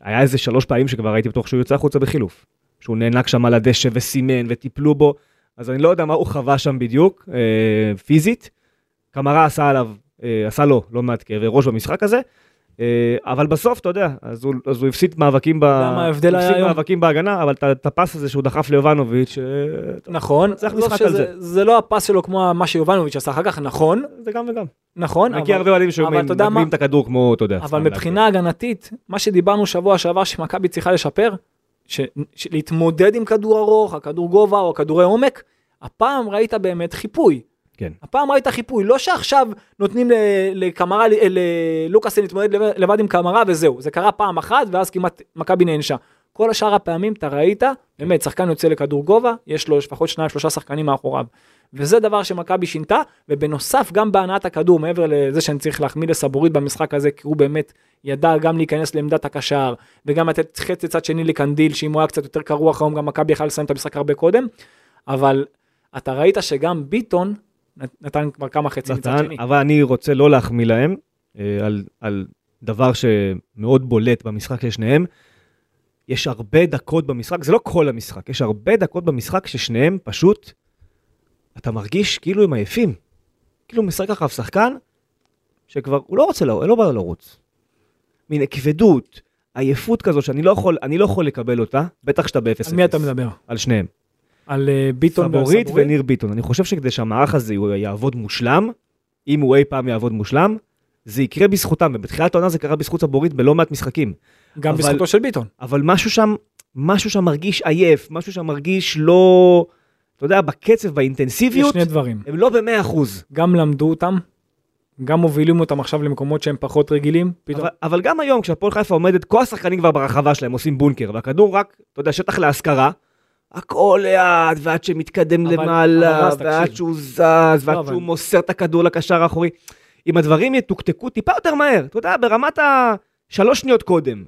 B: היה איזה שלוש פעמים שכבר הייתי בטוח שהוא יוצא החוצה בחילוף. שהוא נאנק שם על הדשא וסימן וטיפלו בו, אז אני לא יודע מה הוא חווה שם בדיוק, אה, פיזית. קמרה עשה עליו, אה, עשה לו לא מעט כאבי ראש במשחק הזה, אה, אבל בסוף, אתה יודע, אז הוא, אז הוא הפסיד מאבקים, ב...
C: יודע מה ההבדל
B: הוא
C: היה
B: הפסיד
C: היום?
B: מאבקים בהגנה, אבל את- את הפס הזה שהוא דחף ליובנוביץ', אה,
C: נכון,
B: צריך
C: עזוב
B: משחק על
C: שזה- זה לא הפס שלו כמו מה שיובנוביץ' עשה אחר כך, נכון,
B: זה גם וגם.
C: נכון,
B: מכיר
C: אבל,
B: הרבה אוהדים
C: אבל אתה יודע
B: שמגבים
C: מה?
B: את הכדור כמו, אתה יודע.
C: אבל
B: סתם להגזים.
C: מבחינה הגנתית, מה שדיברנו שבוע שעבר שמכבי צריכה לשפר, ש- ש- להתמודד עם כדור ארוך, הכדור גובה או כדורי עומק, הפעם ראית באמת חיפוי.
B: כן.
C: הפעם ראית חיפוי, לא שעכשיו נותנים ל- לקמרה, ל- ללוקאסן להתמודד לבד- לבד עם קמרה וזהו, זה קרה פעם אחת ואז כמעט מכבי נענשה. כל השאר הפעמים אתה ראית, באמת, שחקן יוצא לכדור גובה, יש לו לפחות שניים שלושה שחקנים מאחוריו. וזה דבר שמכבי שינתה, ובנוסף גם בהנעת הכדור, מעבר לזה שאני צריך להחמיא לסבורית במשחק הזה, כי הוא באמת ידע גם להיכנס לעמדת הקשר, וגם לתת חצי צד שני לקנדיל, שאם הוא היה קצת יותר קרוח היום, גם מכבי יכלה לסיים את המשחק הרבה קודם, אבל אתה ראית שגם ביטון נתן כבר כמה חצי מצד
B: נתן,
C: שני.
B: אבל אני רוצה לא להחמיא להם אה, על, על דבר שמאוד בולט במשחק של שניהם. יש הרבה דקות במשחק, זה לא כל המשחק, יש הרבה דקות במשחק ששניהם פשוט, אתה מרגיש כאילו הם עייפים. כאילו משחק אחריו שחקן, שכבר, הוא לא רוצה, לרוץ, לא בא לו לרוץ. מין כבדות, עייפות כזו שאני לא יכול, אני לא יכול לקבל אותה, בטח שאתה ב-0-0.
C: על מי אתה מדבר?
B: על שניהם.
C: על אה, ביטון ועל
B: סבורית וניר ביטון. אני חושב שכדי שהמערך הזה הוא יעבוד מושלם, אם הוא אי פעם יעבוד מושלם, זה יקרה בזכותם, ובתחילת העונה זה קרה בזכות סבורית בלא מעט משחקים.
C: גם
B: אבל-
C: בזכותו של ביטון.
B: אבל משהו שם, משהו שם מרגיש עייף, משהו שם מרגיש לא, אתה יודע, בקצב,
C: יש
B: באינטנסיביות,
C: שני דברים.
B: הם לא במאה אחוז.
C: גם למדו אותם, גם מובילים אותם עכשיו למקומות שהם פחות רגילים. פתאום
B: אבל, אבל גם היום, כשהפועל חיפה עומדת, כל השחקנים כבר ברחבה שלהם עושים בונקר, והכדור רק, אתה יודע, שטח להשכרה, הכל לאט, ועד שמתקדם
C: אבל- אבל
B: למעלה,
C: רז, תקשיב.
B: ועד שהוא זז, ועד
C: לא, אבל-
B: שהוא מוסר את הכדור לקשר האחורי. אם הדברים יתוקתקו טיפה יותר מהר, אתה יודע, ברמת ה... שלוש שניות קודם.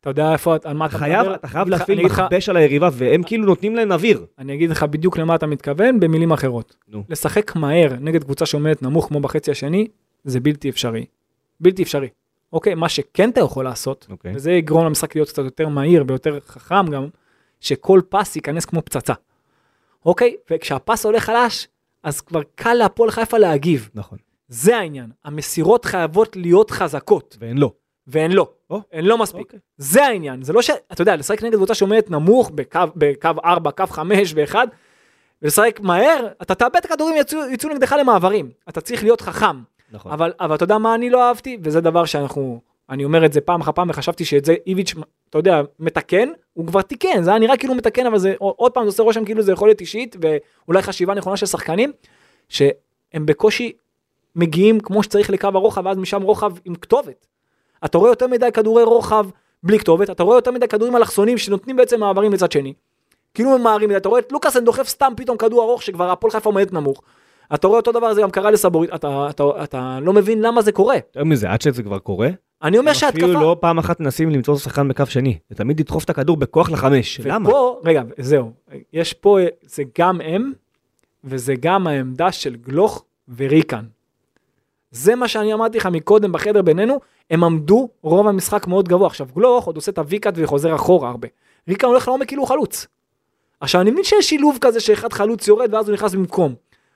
C: אתה יודע איפה, אתה- על מה אתה
B: אתה חייב,
C: מדבר?
B: אתה חייב
C: אני אגיד לך-
B: להפעיל
C: אני אגיד לך-
B: מכבש על היריבה, והם כאילו נותנים להם אוויר.
C: אני אגיד לך בדיוק למה אתה מתכוון במילים אחרות.
B: נו.
C: לשחק מהר נגד קבוצה שעומדת נמוך כמו בחצי השני, זה בלתי אפשרי. בלתי אפשרי. אוקיי, מה שכן אתה יכול לעשות,
B: אוקיי.
C: וזה יגרום למשחק להיות קצת יותר מהיר ויותר חכם גם, שכל פס ייכנס כמו פצצה. אוקיי? וכשהפס עולה חלש, אז כבר קל להפועל חיפה להגיב.
B: נכון.
C: זה העניין. המסירות חייבות להיות חזקות,
B: ואין לא.
C: והן לא.
B: או.
C: הן לא מספיק.
B: אוקיי.
C: זה העניין, זה לא ש... אתה יודע, לשחק נגד קבוצה שעומדת נמוך בקו, בקו 4, קו 5 ו-1, ולשחק מהר, אתה תאבד את הכדורים, יצאו, יצאו נגדך למעברים. אתה צריך להיות חכם.
B: נכון.
C: אבל, אבל אתה יודע מה אני לא אהבתי? וזה דבר שאנחנו... אני אומר את זה פעם אחר פעם, וחשבתי שאת זה איביץ', אתה יודע, מתקן, הוא כבר תיקן, זה היה נראה כאילו הוא מתקן, אבל זה עוד פעם, זה עושה רושם כאילו זה יכול להיות אישית, ואולי חשיבה נכונה של שחקנים, שהם בקושי מגיעים כמו שצריך לקו הרוחב, ואז משם רוחב עם כתובת. אתה רואה יותר מדי כדורי רוחב בלי כתובת, אתה רואה יותר מדי כדורים אלכסונים שנותנים בעצם מעברים לצד שני. כאילו הם מערים, אתה רואה את לוקאסן דוחף סתם פתאום כדור ארוך שכבר הפועל חיפה עומדת נמוך. אתה רואה אותו דבר, זה גם קרה לסבורית, אתה, אתה, אתה, לא מבין למה זה קורה.
B: יותר מזה, עד שזה כבר קורה,
C: אני אומר שההתקפה...
B: אפילו לא פעם אחת מנסים למצוא שחקן בקו שני. זה תמיד לדחוף את הכדור בכוח לחמש. למה?
C: ופה, רגע, זהו, יש פה, אה, זה גם הם, וזה גם העמדה של גלוך וריקן. זה מה שאני אמרתי לך מקודם בחדר בינינו, הם עמדו רוב המשחק מאוד גבוה. עכשיו גלוך עוד עושה את הוויקאט וחוזר אחורה הרבה. ריקן הולך לעומק כאילו הוא חלוץ. עכשיו אני מבין שיש שילוב כזה שאחד חלוץ יורד ואז הוא נכנס במקום.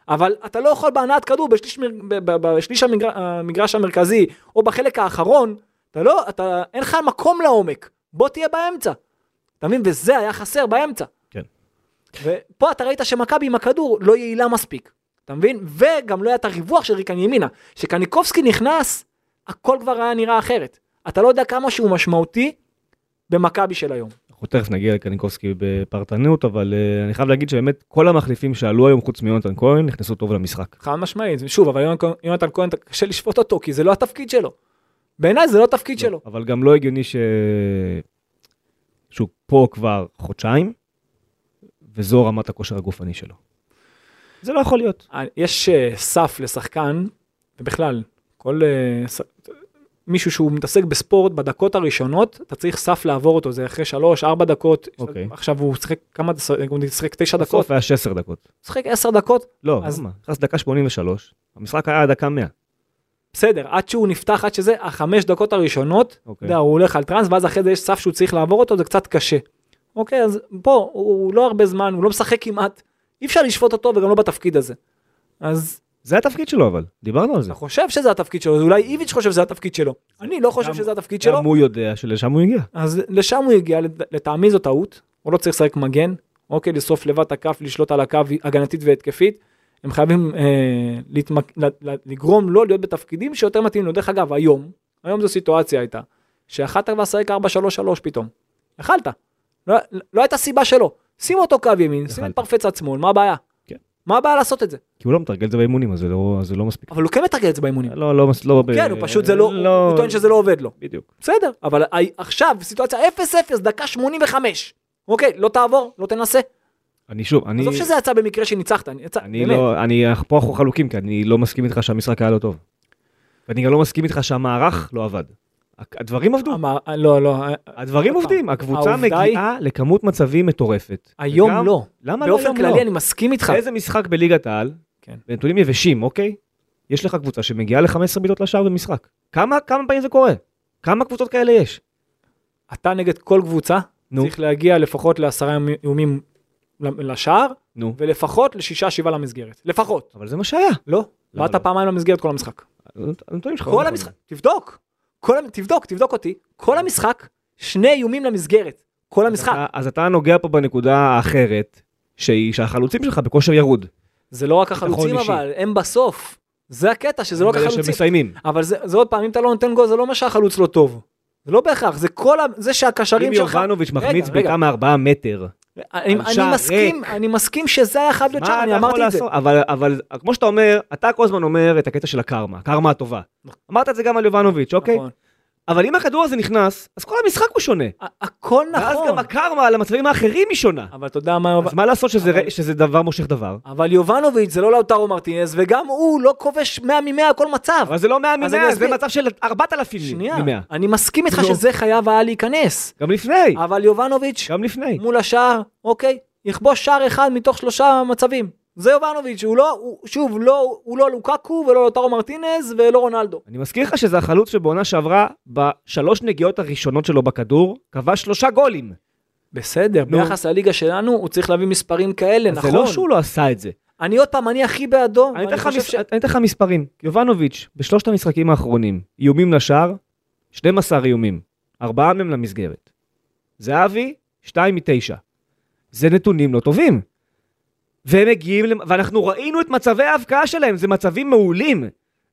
C: אבל אתה לא יכול בהנעת כדור בשליש, מר- ב- ב- בשליש המגר, המגרש המרכזי או בחלק האחרון, אתה לא, אתה, אין לך מקום לעומק, בוא תהיה באמצע. אתה מבין? וזה היה חסר באמצע.
B: כן.
C: ופה אתה ראית שמכבי עם הכדור לא יעילה מספיק. אתה מבין? וגם לא היה את הריווח של ריקן ימינה. כשקניקובסקי נכנס, הכל כבר היה נראה אחרת. אתה לא יודע כמה שהוא משמעותי במכבי של היום.
B: אנחנו תכף נגיע לקניקובסקי בפרטנות, אבל אה, אני חייב להגיד שבאמת כל המחליפים שעלו היום חוץ מיונתן כהן נכנסו טוב למשחק.
C: חד משמעית, שוב, אבל יונתן- יונתן כהן קשה לשפוט אותו, כי זה לא התפקיד שלו. בעיניי זה לא התפקיד שלו.
B: אבל גם לא הגיוני ש... שהוא פה כבר חודשיים, וזו רמת הכושר הגופני שלו. זה לא יכול להיות.
C: יש אה, סף לשחקן, ובכלל, כל... אה, ס- מישהו שהוא מתעסק בספורט בדקות הראשונות, אתה צריך סף לעבור אותו, זה אחרי 3-4 דקות.
B: אוקיי.
C: עכשיו הוא שיחק כמה, דס- הוא שיחק 9 דקות,
B: בסוף היה 16 דקות.
C: שיחק 10 דקות,
B: לא,
C: אז-
B: למה? נכנס דקה 83, המשחק היה דקה 100.
C: בסדר, עד שהוא נפתח, עד שזה, החמש דקות הראשונות, אתה
B: אוקיי.
C: יודע, הוא הולך על טראנס, ואז אחרי זה יש סף שהוא צריך לעבור אותו, זה קצת קשה. אוקיי, אז פה, הוא, הוא לא הרבה זמן, הוא לא משחק כמעט, אי אפשר לשפוט אותו וגם לא בתפקיד הזה. אז
B: זה התפקיד שלו אבל, דיברנו על זה.
C: אתה חושב שזה התפקיד שלו, אז אולי איביץ' חושב שזה התפקיד שלו. אני לא חושב
B: גם-
C: שזה התפקיד שלו,
B: גם הוא יודע שלשם הוא הגיע.
C: אז לשם הוא הגיע, לד- לטעמי זו טעות, הוא לא צריך לשחק מגן, אוקיי, לשרוף לבד את הכף, לשלוט על הקו הגנתית והתקפית. הם חייבים אה, להתמק... ל- ל- לגרום לו להיות בתפקידים שיותר מתאים לו. דרך אגב, היום, היום זו סיטואציה הייתה, שיכלת כבר לשחק 4-3-3 פתאום. יכלת. לא, לא הייתה סיבה שלא. שים אותו קו ימין, שים את
B: יכלת.
C: פרפץ עד שמאל, מה הבעיה?
B: כן.
C: מה הבעיה לעשות את זה?
B: כי הוא לא מתרגל את זה באימונים, אז זה לא- אז זה לא מספיק.
C: אבל הוא כן מתרגל את זה באימונים.
B: לא, לא, מס- לא... ב-
C: כן, הוא פשוט, זה לא, הוא טוען שזה לא עובד לו.
B: בדיוק.
C: בסדר, אבל ה- עכשיו סיטואציה 0-0, דקה 85. אוקיי, לא תעבור, לא תנסה.
B: אני שוב, אני...
C: עזוב שזה יצא במקרה שניצחת, אני- יצא,
B: אני
C: באמת.
B: לא, אני, אנחנו- פה אנחנו חלוקים, כי אני לא מסכים איתך שהמשחק היה לא טוב. ואני גם לא מסכים איתך שהמערך לא עבד. הק- הדברים עבדו,
C: אמר- לא, לא,
B: הדברים
C: עוד
B: עובדים,
C: פעם,
B: הקבוצה
C: העובדה היא-
B: מגיעה לכמות מצבים מטורפת.
C: היום
B: וגם-
C: לא.
B: למה לא
C: באופן
B: היום
C: כללי
B: לא?
C: אני מסכים איתך.
B: איזה משחק בליגת העל,
C: כן.
B: בנתונים יבשים, אוקיי? יש לך קבוצה שמגיעה ל-15 בעיטות לשער במשחק. כמה, כמה פעמים זה קורה? כמה קבוצות כאלה יש?
C: אתה נגד כל קבוצה,
B: נו,
C: צריך להגיע לפחות לעשרה איומ- איומים ל- לשער,
B: נו.
C: ולפחות לשישה שבעה למסגרת. לפחות.
B: אבל זה מה שהיה.
C: לא,
B: למה
C: באת
B: לא?
C: פעמיים למסגרת כל המשחק.
B: הנתונים שלך. לא
C: כל
B: נכונים.
C: המשחק, תבדוק. כל המ- תבדוק, תבדוק אותי.
B: כן.
C: כל המשחק, שני איומים למסגרת. כל המשחק.
B: אתה- אז אתה נוגע פה בנקודה האחרת, שהיא, שהחלוצים שלך בכושר ירוד.
C: זה לא רק החלוצים
B: אישי.
C: אבל, הם בסוף. זה הקטע, שזה לא רק
B: אלה
C: החלוצים.
B: שמסיימים.
C: אבל זה, זה עוד פעם, אם אתה לא נותן גול, זה לא אומר שהחלוץ לא טוב. זה לא בהכרח, זה כל ה... זה
B: אם
C: שהקשרים שלך...
B: יובנוביץ'
C: רגע,
B: מחמיץ
C: רגע.
B: בעיטה מארבעה מטר,
C: אני,
B: על
C: אני
B: שער
C: מסכים, אני מסכים שזה היה חייב להיות שם,
B: מה אתה
C: אני
B: יכול
C: לא, אמרתי את זה.
B: לעשות? אבל, אבל כמו שאתה אומר, אתה כל הזמן אומר את הקטע של הקרמה, הקרמה הטובה. אמרת את זה גם על יובנוביץ', אוקיי?
C: נכון.
B: אבל אם הכדור הזה נכנס, אז כל המשחק הוא שונה.
C: ה- הכל
B: ואז גם
C: נכון.
B: הקרמה על המצבים האחרים היא שונה.
C: אבל אתה יודע מה...
B: אז מה לעשות שזה,
C: אבל-
B: שזה דבר מושך דבר?
C: אבל יובנוביץ' זה לא לאוטרו מרטינז, וגם הוא לא כובש 100 מ-100 כל מצב.
B: אבל זה לא 100
C: אז אני
B: מ-100, זה
C: אסביר.
B: מצב של 4,000
C: שנייה,
B: מ-100.
C: אני מסכים איתך
B: לא.
C: שזה חייב היה להיכנס.
B: גם לפני,
C: אבל יובנוביץ'
B: גם לפני.
C: מול השער, אוקיי, יכבוש שער אחד מתוך שלושה מצבים. זה יובנוביץ', הוא לא, הוא, שוב, לא, הוא לא לוקקו ולא לוטרו מרטינז ולא רונלדו.
B: אני מזכיר לך שזה החלוץ שבעונה שעברה, בשלוש נגיעות הראשונות שלו בכדור, כבש שלושה גולים.
C: בסדר,
B: נו.
C: ביחס לליגה שלנו, הוא צריך להביא מספרים כאלה,
B: זה
C: נכון.
B: לא שהוא לא עשה את זה.
C: אני עוד פעם, אני הכי בעדו.
B: אני אתן
C: ואני
B: לך
C: חושב
B: מס- אני אתן לך מספרים. יובנוביץ', בשלושת המשחקים האחרונים, איומים לשער, 12 איומים, ארבעה מהם למסגרת. זהבי, 2 מ-9. זה נתונים לא טובים. והם מגיעים, למ- ואנחנו ראינו את מצבי ההבקעה שלהם, זה מצבים מעולים.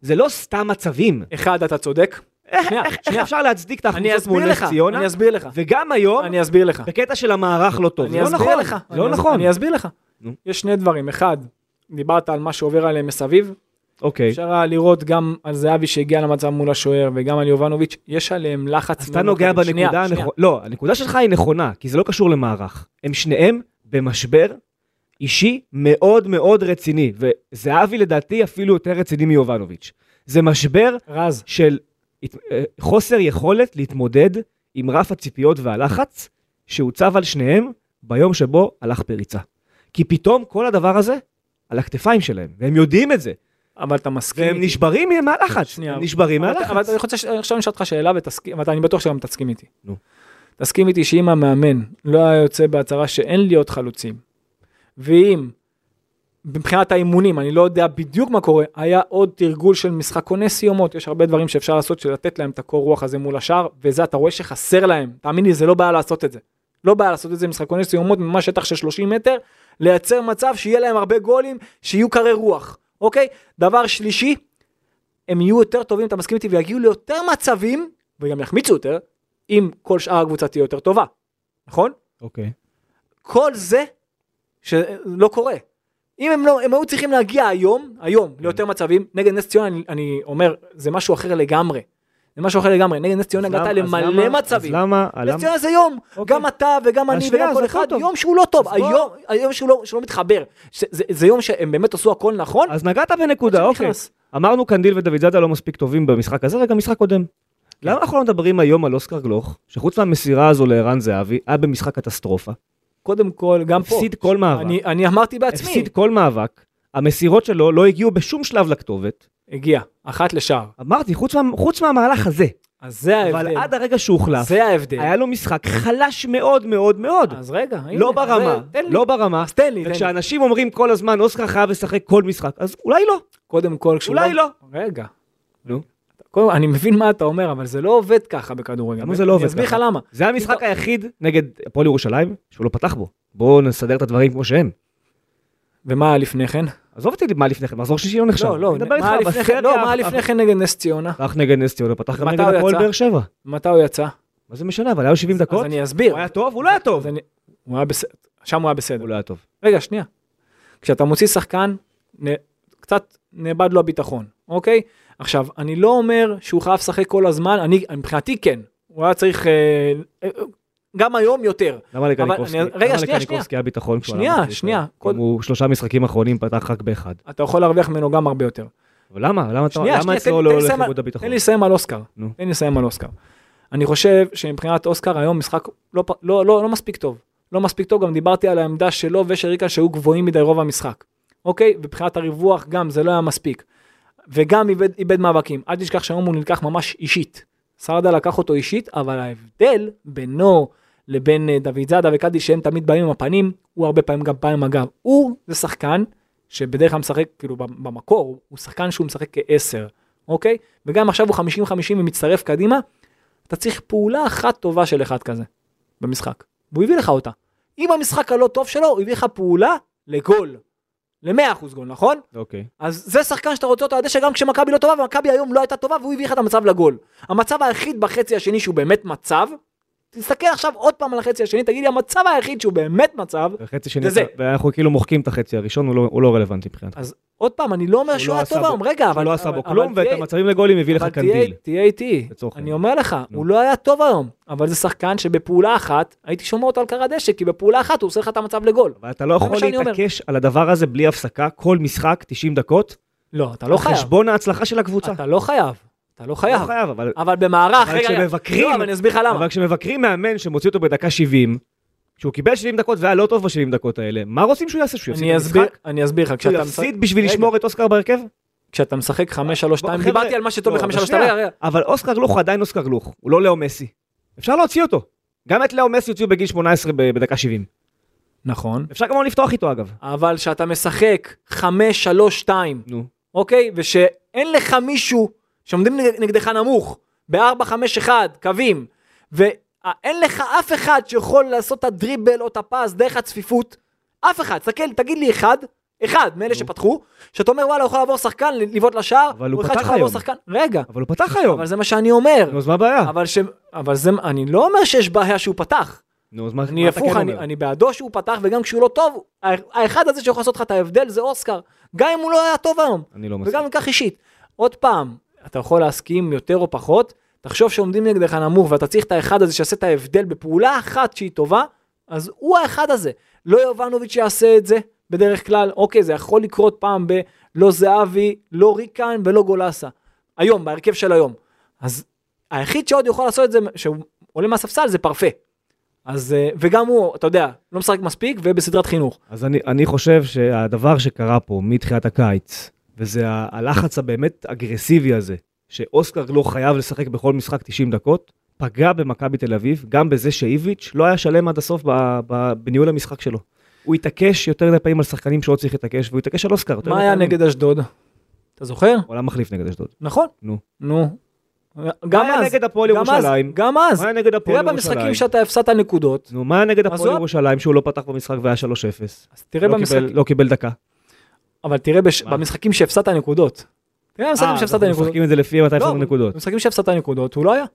B: זה לא סתם מצבים.
C: אחד, אתה צודק.
B: איך,
C: שנייה,
B: איך, איך
C: שנייה.
B: אפשר להצדיק את
C: אני
B: ההכנסות
C: אסביר
B: מול
C: לך,
B: נס ציונה?
C: אני אסביר לך.
B: וגם היום,
C: אני אסביר לך.
B: בקטע של המערך לא טוב. זה
C: אני
B: לא
C: אסביר
B: נכון.
C: לך.
B: זה לא
C: אני אס-
B: נכון.
C: אני אסביר לך.
B: נו.
C: יש שני דברים. אחד, דיברת על מה שעובר עליהם מסביב.
B: אוקיי.
C: אפשר היה לראות גם על זהבי שהגיע למצב מול השוער וגם על יובנוביץ', יש עליהם לחץ.
B: אז אתה
C: מאוד
B: נוגע
C: כבד. שנייה,
B: בנקודה
C: שנייה.
B: הנכונה, לא, הנקודה שלך היא נכונה, כי זה לא קשור למערך. הם שניהם במשבר אישי מאוד מאוד רציני, וזהבי לדעתי אפילו יותר רציני מיובנוביץ'. זה משבר
C: רז,
B: של הת- אה, חוסר יכולת להתמודד עם רף הציפיות והלחץ שהוצב על שניהם ביום שבו הלך פריצה. כי פתאום כל הדבר הזה על הכתפיים שלהם, והם יודעים את זה,
C: אבל אתה מסכים.
B: והם
C: איתי.
B: נשברים מהלחץ,
C: שנייה,
B: הם נשברים
C: אבל אתה- אבל
B: מהלחץ.
C: אני רוצה, ש- עכשיו אני אשאל אותך שאלה ותסכים, ואתה- אני בטוח שגם תסכים איתי.
B: נו.
C: תסכים איתי שאם המאמן לא היה יוצא בהצהרה שאין להיות חלוצים, ואם מבחינת האימונים, אני לא יודע בדיוק מה קורה, היה עוד תרגול של משחק עונה סיומות, יש הרבה דברים שאפשר לעשות של לתת להם את הקור רוח הזה מול השאר, וזה אתה רואה שחסר להם, תאמין לי, זה לא בעיה לעשות את זה. לא בעיה לעשות את זה משחק עונה סיומות ממש שטח של 30 מטר, לייצר מצב שיהיה להם הרבה גולים, שיהיו קרי רוח, אוקיי? דבר שלישי, הם יהיו יותר טובים, אתה מסכים איתי, ויגיעו ליותר מצבים, וגם יחמיצו יותר, אם כל שאר הקבוצה תהיה יותר טובה, נכון?
B: אוקיי.
C: כל זה שלא קורה. אם הם לא, הם היו צריכים להגיע היום, היום,
B: כן.
C: ליותר מצבים, נגד נס ציונה, אני, אני אומר, זה משהו אחר לגמרי. זה משהו אחר לגמרי, נגד נס ציונה
B: אז למה-
C: הגעת
B: אז
C: למלא
B: למה-
C: מצבים.
B: אז למה,
C: נס
B: למה,
C: ציונה זה יום,
B: אוקיי.
C: גם אתה וגם
B: אז
C: אני
B: שנייה,
C: וגם
B: אז
C: כל
B: הכל
C: אחד,
B: טוב.
C: יום שהוא לא טוב,
B: אז בוא-
C: היום, היום שהוא לא, שלא מתחבר. ש- זה, זה יום שהם באמת עשו הכל נכון,
B: אז נגעת בנקודה,
C: עד
B: אוקיי.
C: שנכנס.
B: אמרנו קנדיל ודוד זאדה לא מספיק טובים במשחק הזה, וגם משחק קודם.
C: כן.
B: למה אנחנו לא מדברים היום על אוסקר גלוך, שחוץ מהמסירה הזו לערן זהבי, היה במשחק קטסטרופה,
C: קודם כל, גם פה.
B: הפסיד כל מאבק,
C: אני, אני אמרתי בעצמי.
B: הפסיד כל מאבק, המסירות שלו לא הגיעו בשום שלב לכתובת.
C: הגיע, אחת לשער.
B: אמרתי, חוץ מה- חוץ מהמהלך הזה,
C: אז זה ההבדל.
B: אבל עד הרגע שהוחלף,
C: זה ההבדל.
B: היה לו משחק חלש מאוד מאוד מאוד.
C: אז רגע, הנה.
B: לא
C: אז
B: ברמה,
C: תן לי.
B: לא ברמה.
C: אז תן לי, תן לי.
B: וכשאנשים אומרים כל הזמן, אוסקר חייב לשחק כל משחק, אז אולי לא,
C: קודם כל, כשהוא...
B: אולי לא.
C: רגע.
B: נו.
C: קודם, אני מבין מה אתה אומר, אבל זה לא עובד ככה בכדורגל.
B: למה זה לא עובד
C: אני אסביר לך
B: ככה?
C: למה.
B: זה המשחק היחיד נגד הפועל ירושלים שהוא לא פתח בו. בואו נסדר את הדברים כמו שהם.
C: ומה היה לפני כן?
B: עזוב אותי מה לפני כן, מחזור שישי לא נחשב.
C: לא, לא,
B: אני מדבר
C: מה היה
B: איתך
C: לפני כן-
B: בסריה,
C: לא, מה היה לפני כן נגד נס ציונה?
B: פתח נגד נס ציונה, פתח גם
C: מתי
B: נגד
C: הוא
B: הפועל
C: יצא?
B: באר שבע.
C: מתי הוא יצא?
B: מה זה משנה, אבל היו 70
C: אז
B: דקות.
C: אני אסביר.
B: הוא היה טוב? הוא לא היה טוב.
C: אז אני- הוא היה בסדר. שם הוא היה בסדר.
B: הוא לא היה טוב.
C: רגע, שנייה. כשאתה מוציא שחקן, נ... קצת נאבד לו הביטחון, אוקיי? עכשיו, אני לא אומר שהוא חייב לשחק כל הזמן, אני, מבחינתי כן. הוא היה צריך, אה, אה, גם היום יותר.
B: למה לקניקובסקי?
C: אני- רגע,
B: למה
C: שנייה,
B: לקניקובסקי היה ביטחון כשהוא
C: שנייה,
B: עלה מחליף?
C: שנייה,
B: אם
C: קוד-
B: הוא שלושה משחקים אחרונים פתח רק באחד.
C: אתה יכול להרוויח ממנו גם הרבה יותר.
B: אבל למה? למה אתה-
C: שנייה,
B: למה
C: שנייה,
B: אצלו לא
C: תן- תן לי
B: הולך
C: לסיים על-
B: איבוד הביטחון?
C: תן לי לסיים על אוסקר.
B: נו.
C: תן לי לסיים על אוסקר. אני חושב שמבחינת אוסקר היום משחק לא, פ- לא, לא, לא מספיק טוב. לא מספיק טוב, גם דיברתי על העמדה שלו ושל ריקה שהיו גבוהים מדי רוב המשחק. אוקיי? מבחינת הריווח גם זה לא היה מספיק. וגם איבד, איבד מאבקים. אל תשכח שהיום הוא נלקח ממש אישית. סרדה לקח אותו אישית, אבל ההבדל בינו לבין אה, דוד זאדה וקאדי שהם תמיד באים עם הפנים, הוא הרבה פעמים גם בא עם הגב. הוא זה שחקן שבדרך כלל משחק, כאילו במ- במקור, הוא שחקן שהוא משחק כעשר, אוקיי? וגם עכשיו הוא 50-50 ומצטרף קדימה, אתה צריך פעולה אחת טובה של אחד כזה במשחק. והוא הביא לך אותה. עם המשחק הלא טוב שלו, הוא הביא לך פעולה לגול. ל-100% גול, נכון?
B: אוקיי.
C: אז זה שחקן שאתה רוצה אותו על הדשא גם כשמכבי לא טובה, ומכבי היום לא הייתה טובה, והוא הביא לך את המצב לגול. המצב היחיד בחצי השני שהוא באמת מצב, תסתכל עכשיו עוד פעם על החצי השני, תגיד לי, המצב היחיד שהוא באמת מצב,
B: וחצי שני,
C: זה זה.
B: ואנחנו כאילו מוחקים את החצי הראשון, הוא לא- הוא לא רלוונטי מבחינתנו.
C: אז עוד פעם, אני לא אומר
B: הוא
C: שהוא
B: לא
C: היה
B: עשה
C: טוב
B: בו-
C: היום, רגע, אבל...
B: הוא לא עשה בו
C: אבל-
B: כלום,
C: אבל
B: ואת
C: תהיה-
B: המצבים לגולים הביא לך
C: אבל
B: קנדיל.
C: תהיה- תהיה איתי.
B: לצורך
C: אני
B: העניין.
C: אומר לך,
B: נו.
C: הוא לא היה טוב היום, אבל זה שחקן שבפעולה אחת, הייתי שומע אותו על קר הדשא, כי בפעולה אחת הוא עושה לך את המצב לגול.
B: אבל אתה לא יכול
C: מה שאני אומר.
B: להתעקש על הדבר הזה בלי הפסקה, כל משחק, 90 דקות,
C: לא, אתה לא
B: על
C: חייב.
B: חשבון ההצלחה של הקבוצה.
C: אתה לא חייב. אתה לא
B: לא
C: חייב.
B: חייב, אבל
C: אבל במערך,
B: אבל
C: רגע, רגע.
B: כשמבקרים-
C: לא, אבל אני אסביר לך למה.
B: אבל כשמבקרים מאמן שמוציא אותו בדקה 70, שהוא קיבל 70 דקות והיה לא טוב ב-70 דקות האלה, מה רוצים שהוא יעשה? שהוא יפסיד
C: אני
B: את
C: אסביר,
B: המשחק?
C: אני אסביר לך,
B: שהוא
C: כשאתה משחק,
B: יפסיד בשביל
C: רגע.
B: לשמור את אוסקר בהרכב?
C: כשאתה משחק 5-3-2,
B: חבר'ה,
C: דיברתי על מה שטוב
B: לא,
C: ב-5-3-2,
B: שנייה.
C: רגע, רגע.
B: אבל אוסקר לוך הוא עדיין אוסקר לוך, הוא לא לאו מסי. אפשר להוציא אותו. גם את לאו מסי הוציאו בגיל 18 ב- בדקה 70.
C: נכון.
B: אפשר כמובן לפתוח איתו אגב.
C: אבל כשאתה משחק 5-3-2,
B: נו.
C: אוקיי? ושאין לך מישהו שעומדים נג- נגדך נמוך, ב-4-5-1, קווים, ואין לך אף אחד שיכול לעשות את הדריבל או את הפס דרך הצפיפות, אף אחד, תסתכל, תגיד לי אחד, אחד מאלה
B: נו.
C: שפתחו, שאתה אומר וואלה, הוא יכול לעבור שחקן, לבעוט לשער,
B: אבל הוא
C: או אחד
B: פתח
C: שיכול לעבור
B: היום.
C: שחקן, רגע,
B: אבל הוא פתח היום.
C: אבל זה מה שאני אומר.
B: נו, אז מה הבעיה?
C: אבל, ש... אבל זה... אני לא אומר שיש בעיה שהוא פתח.
B: נו, אז מה
C: אני
B: מה אתה
C: הפוך,
B: כן
C: אני,
B: אומר?
C: אני בעדו שהוא פתח, וגם כשהוא לא טוב, ה- האחד הזה שיכול לעשות לך את ההבדל זה אוסקר. גם אם הוא לא היה טוב היום,
B: אני לא מסכים.
C: וגם אם כך אישית. עוד פעם, אתה יכול להסכים יותר או פחות, תחשוב שעומדים נגדך נמוך ואתה צריך את האחד הזה שיעשה את ההבדל בפעולה אחת שהיא טובה, אז הוא האחד הזה. לא יובנוביץ' יעשה את זה בדרך כלל, אוקיי, זה יכול לקרות פעם ב... לא זהבי, לא ריקן ולא גולסה. היום, בהרכב של היום. אז היחיד שעוד יכול לעשות את זה, שהוא עולה מהספסל, זה פרפה. אז, אה, וגם הוא, אתה יודע, לא משחק מספיק ובסדרת חינוך.
B: אז אני, אני חושב שהדבר שקרה פה מתחילת הקיץ, וזה ה- הלחץ הבאמת אגרסיבי הזה, שאוסקר לא חייב לשחק בכל משחק 90 דקות, פגע במכבי תל אביב, גם בזה שאיביץ' לא היה שלם עד הסוף ב, ב, בניהול המשחק שלו. הוא התעקש יותר מדי פעמים על שחקנים שלא צריך להתעקש, והוא התעקש על אוסקר. יותר
C: מה
B: מדי
C: היה
B: פעמים.
C: נגד אשדוד? אתה זוכר?
B: הוא עלה מחליף נגד אשדוד.
C: נכון.
B: נו.
C: נו.
B: מה
C: גם
B: היה
C: אז,
B: נגד הפועל
C: גם אז,
B: ירושלים?
C: גם אז.
B: מה היה נגד הפועל
C: תראה
B: ירושלים?
C: במשחקים שאתה הפסדת נקודות,
B: נו, מה היה נגד
C: אז
B: הפועל
C: הוא-
B: ירושלים שהוא לא פתח במשחק והיה 3-0?
C: אז תראה
B: לא קיבל-
C: במשחקים,
B: לא קיבל דקה.
C: אבל תראה בש-
B: מה?
C: במשחקים שהפסדת נקודות. תראה
B: אה,
C: במשחקים
B: אז
C: שהפסדת
B: אנחנו
C: נקודות.
B: משחקים את זה לפי מתי
C: לא,
B: הפסדנו נקודות.
C: במשחקים שהפסדת נקודות, הוא לא היה.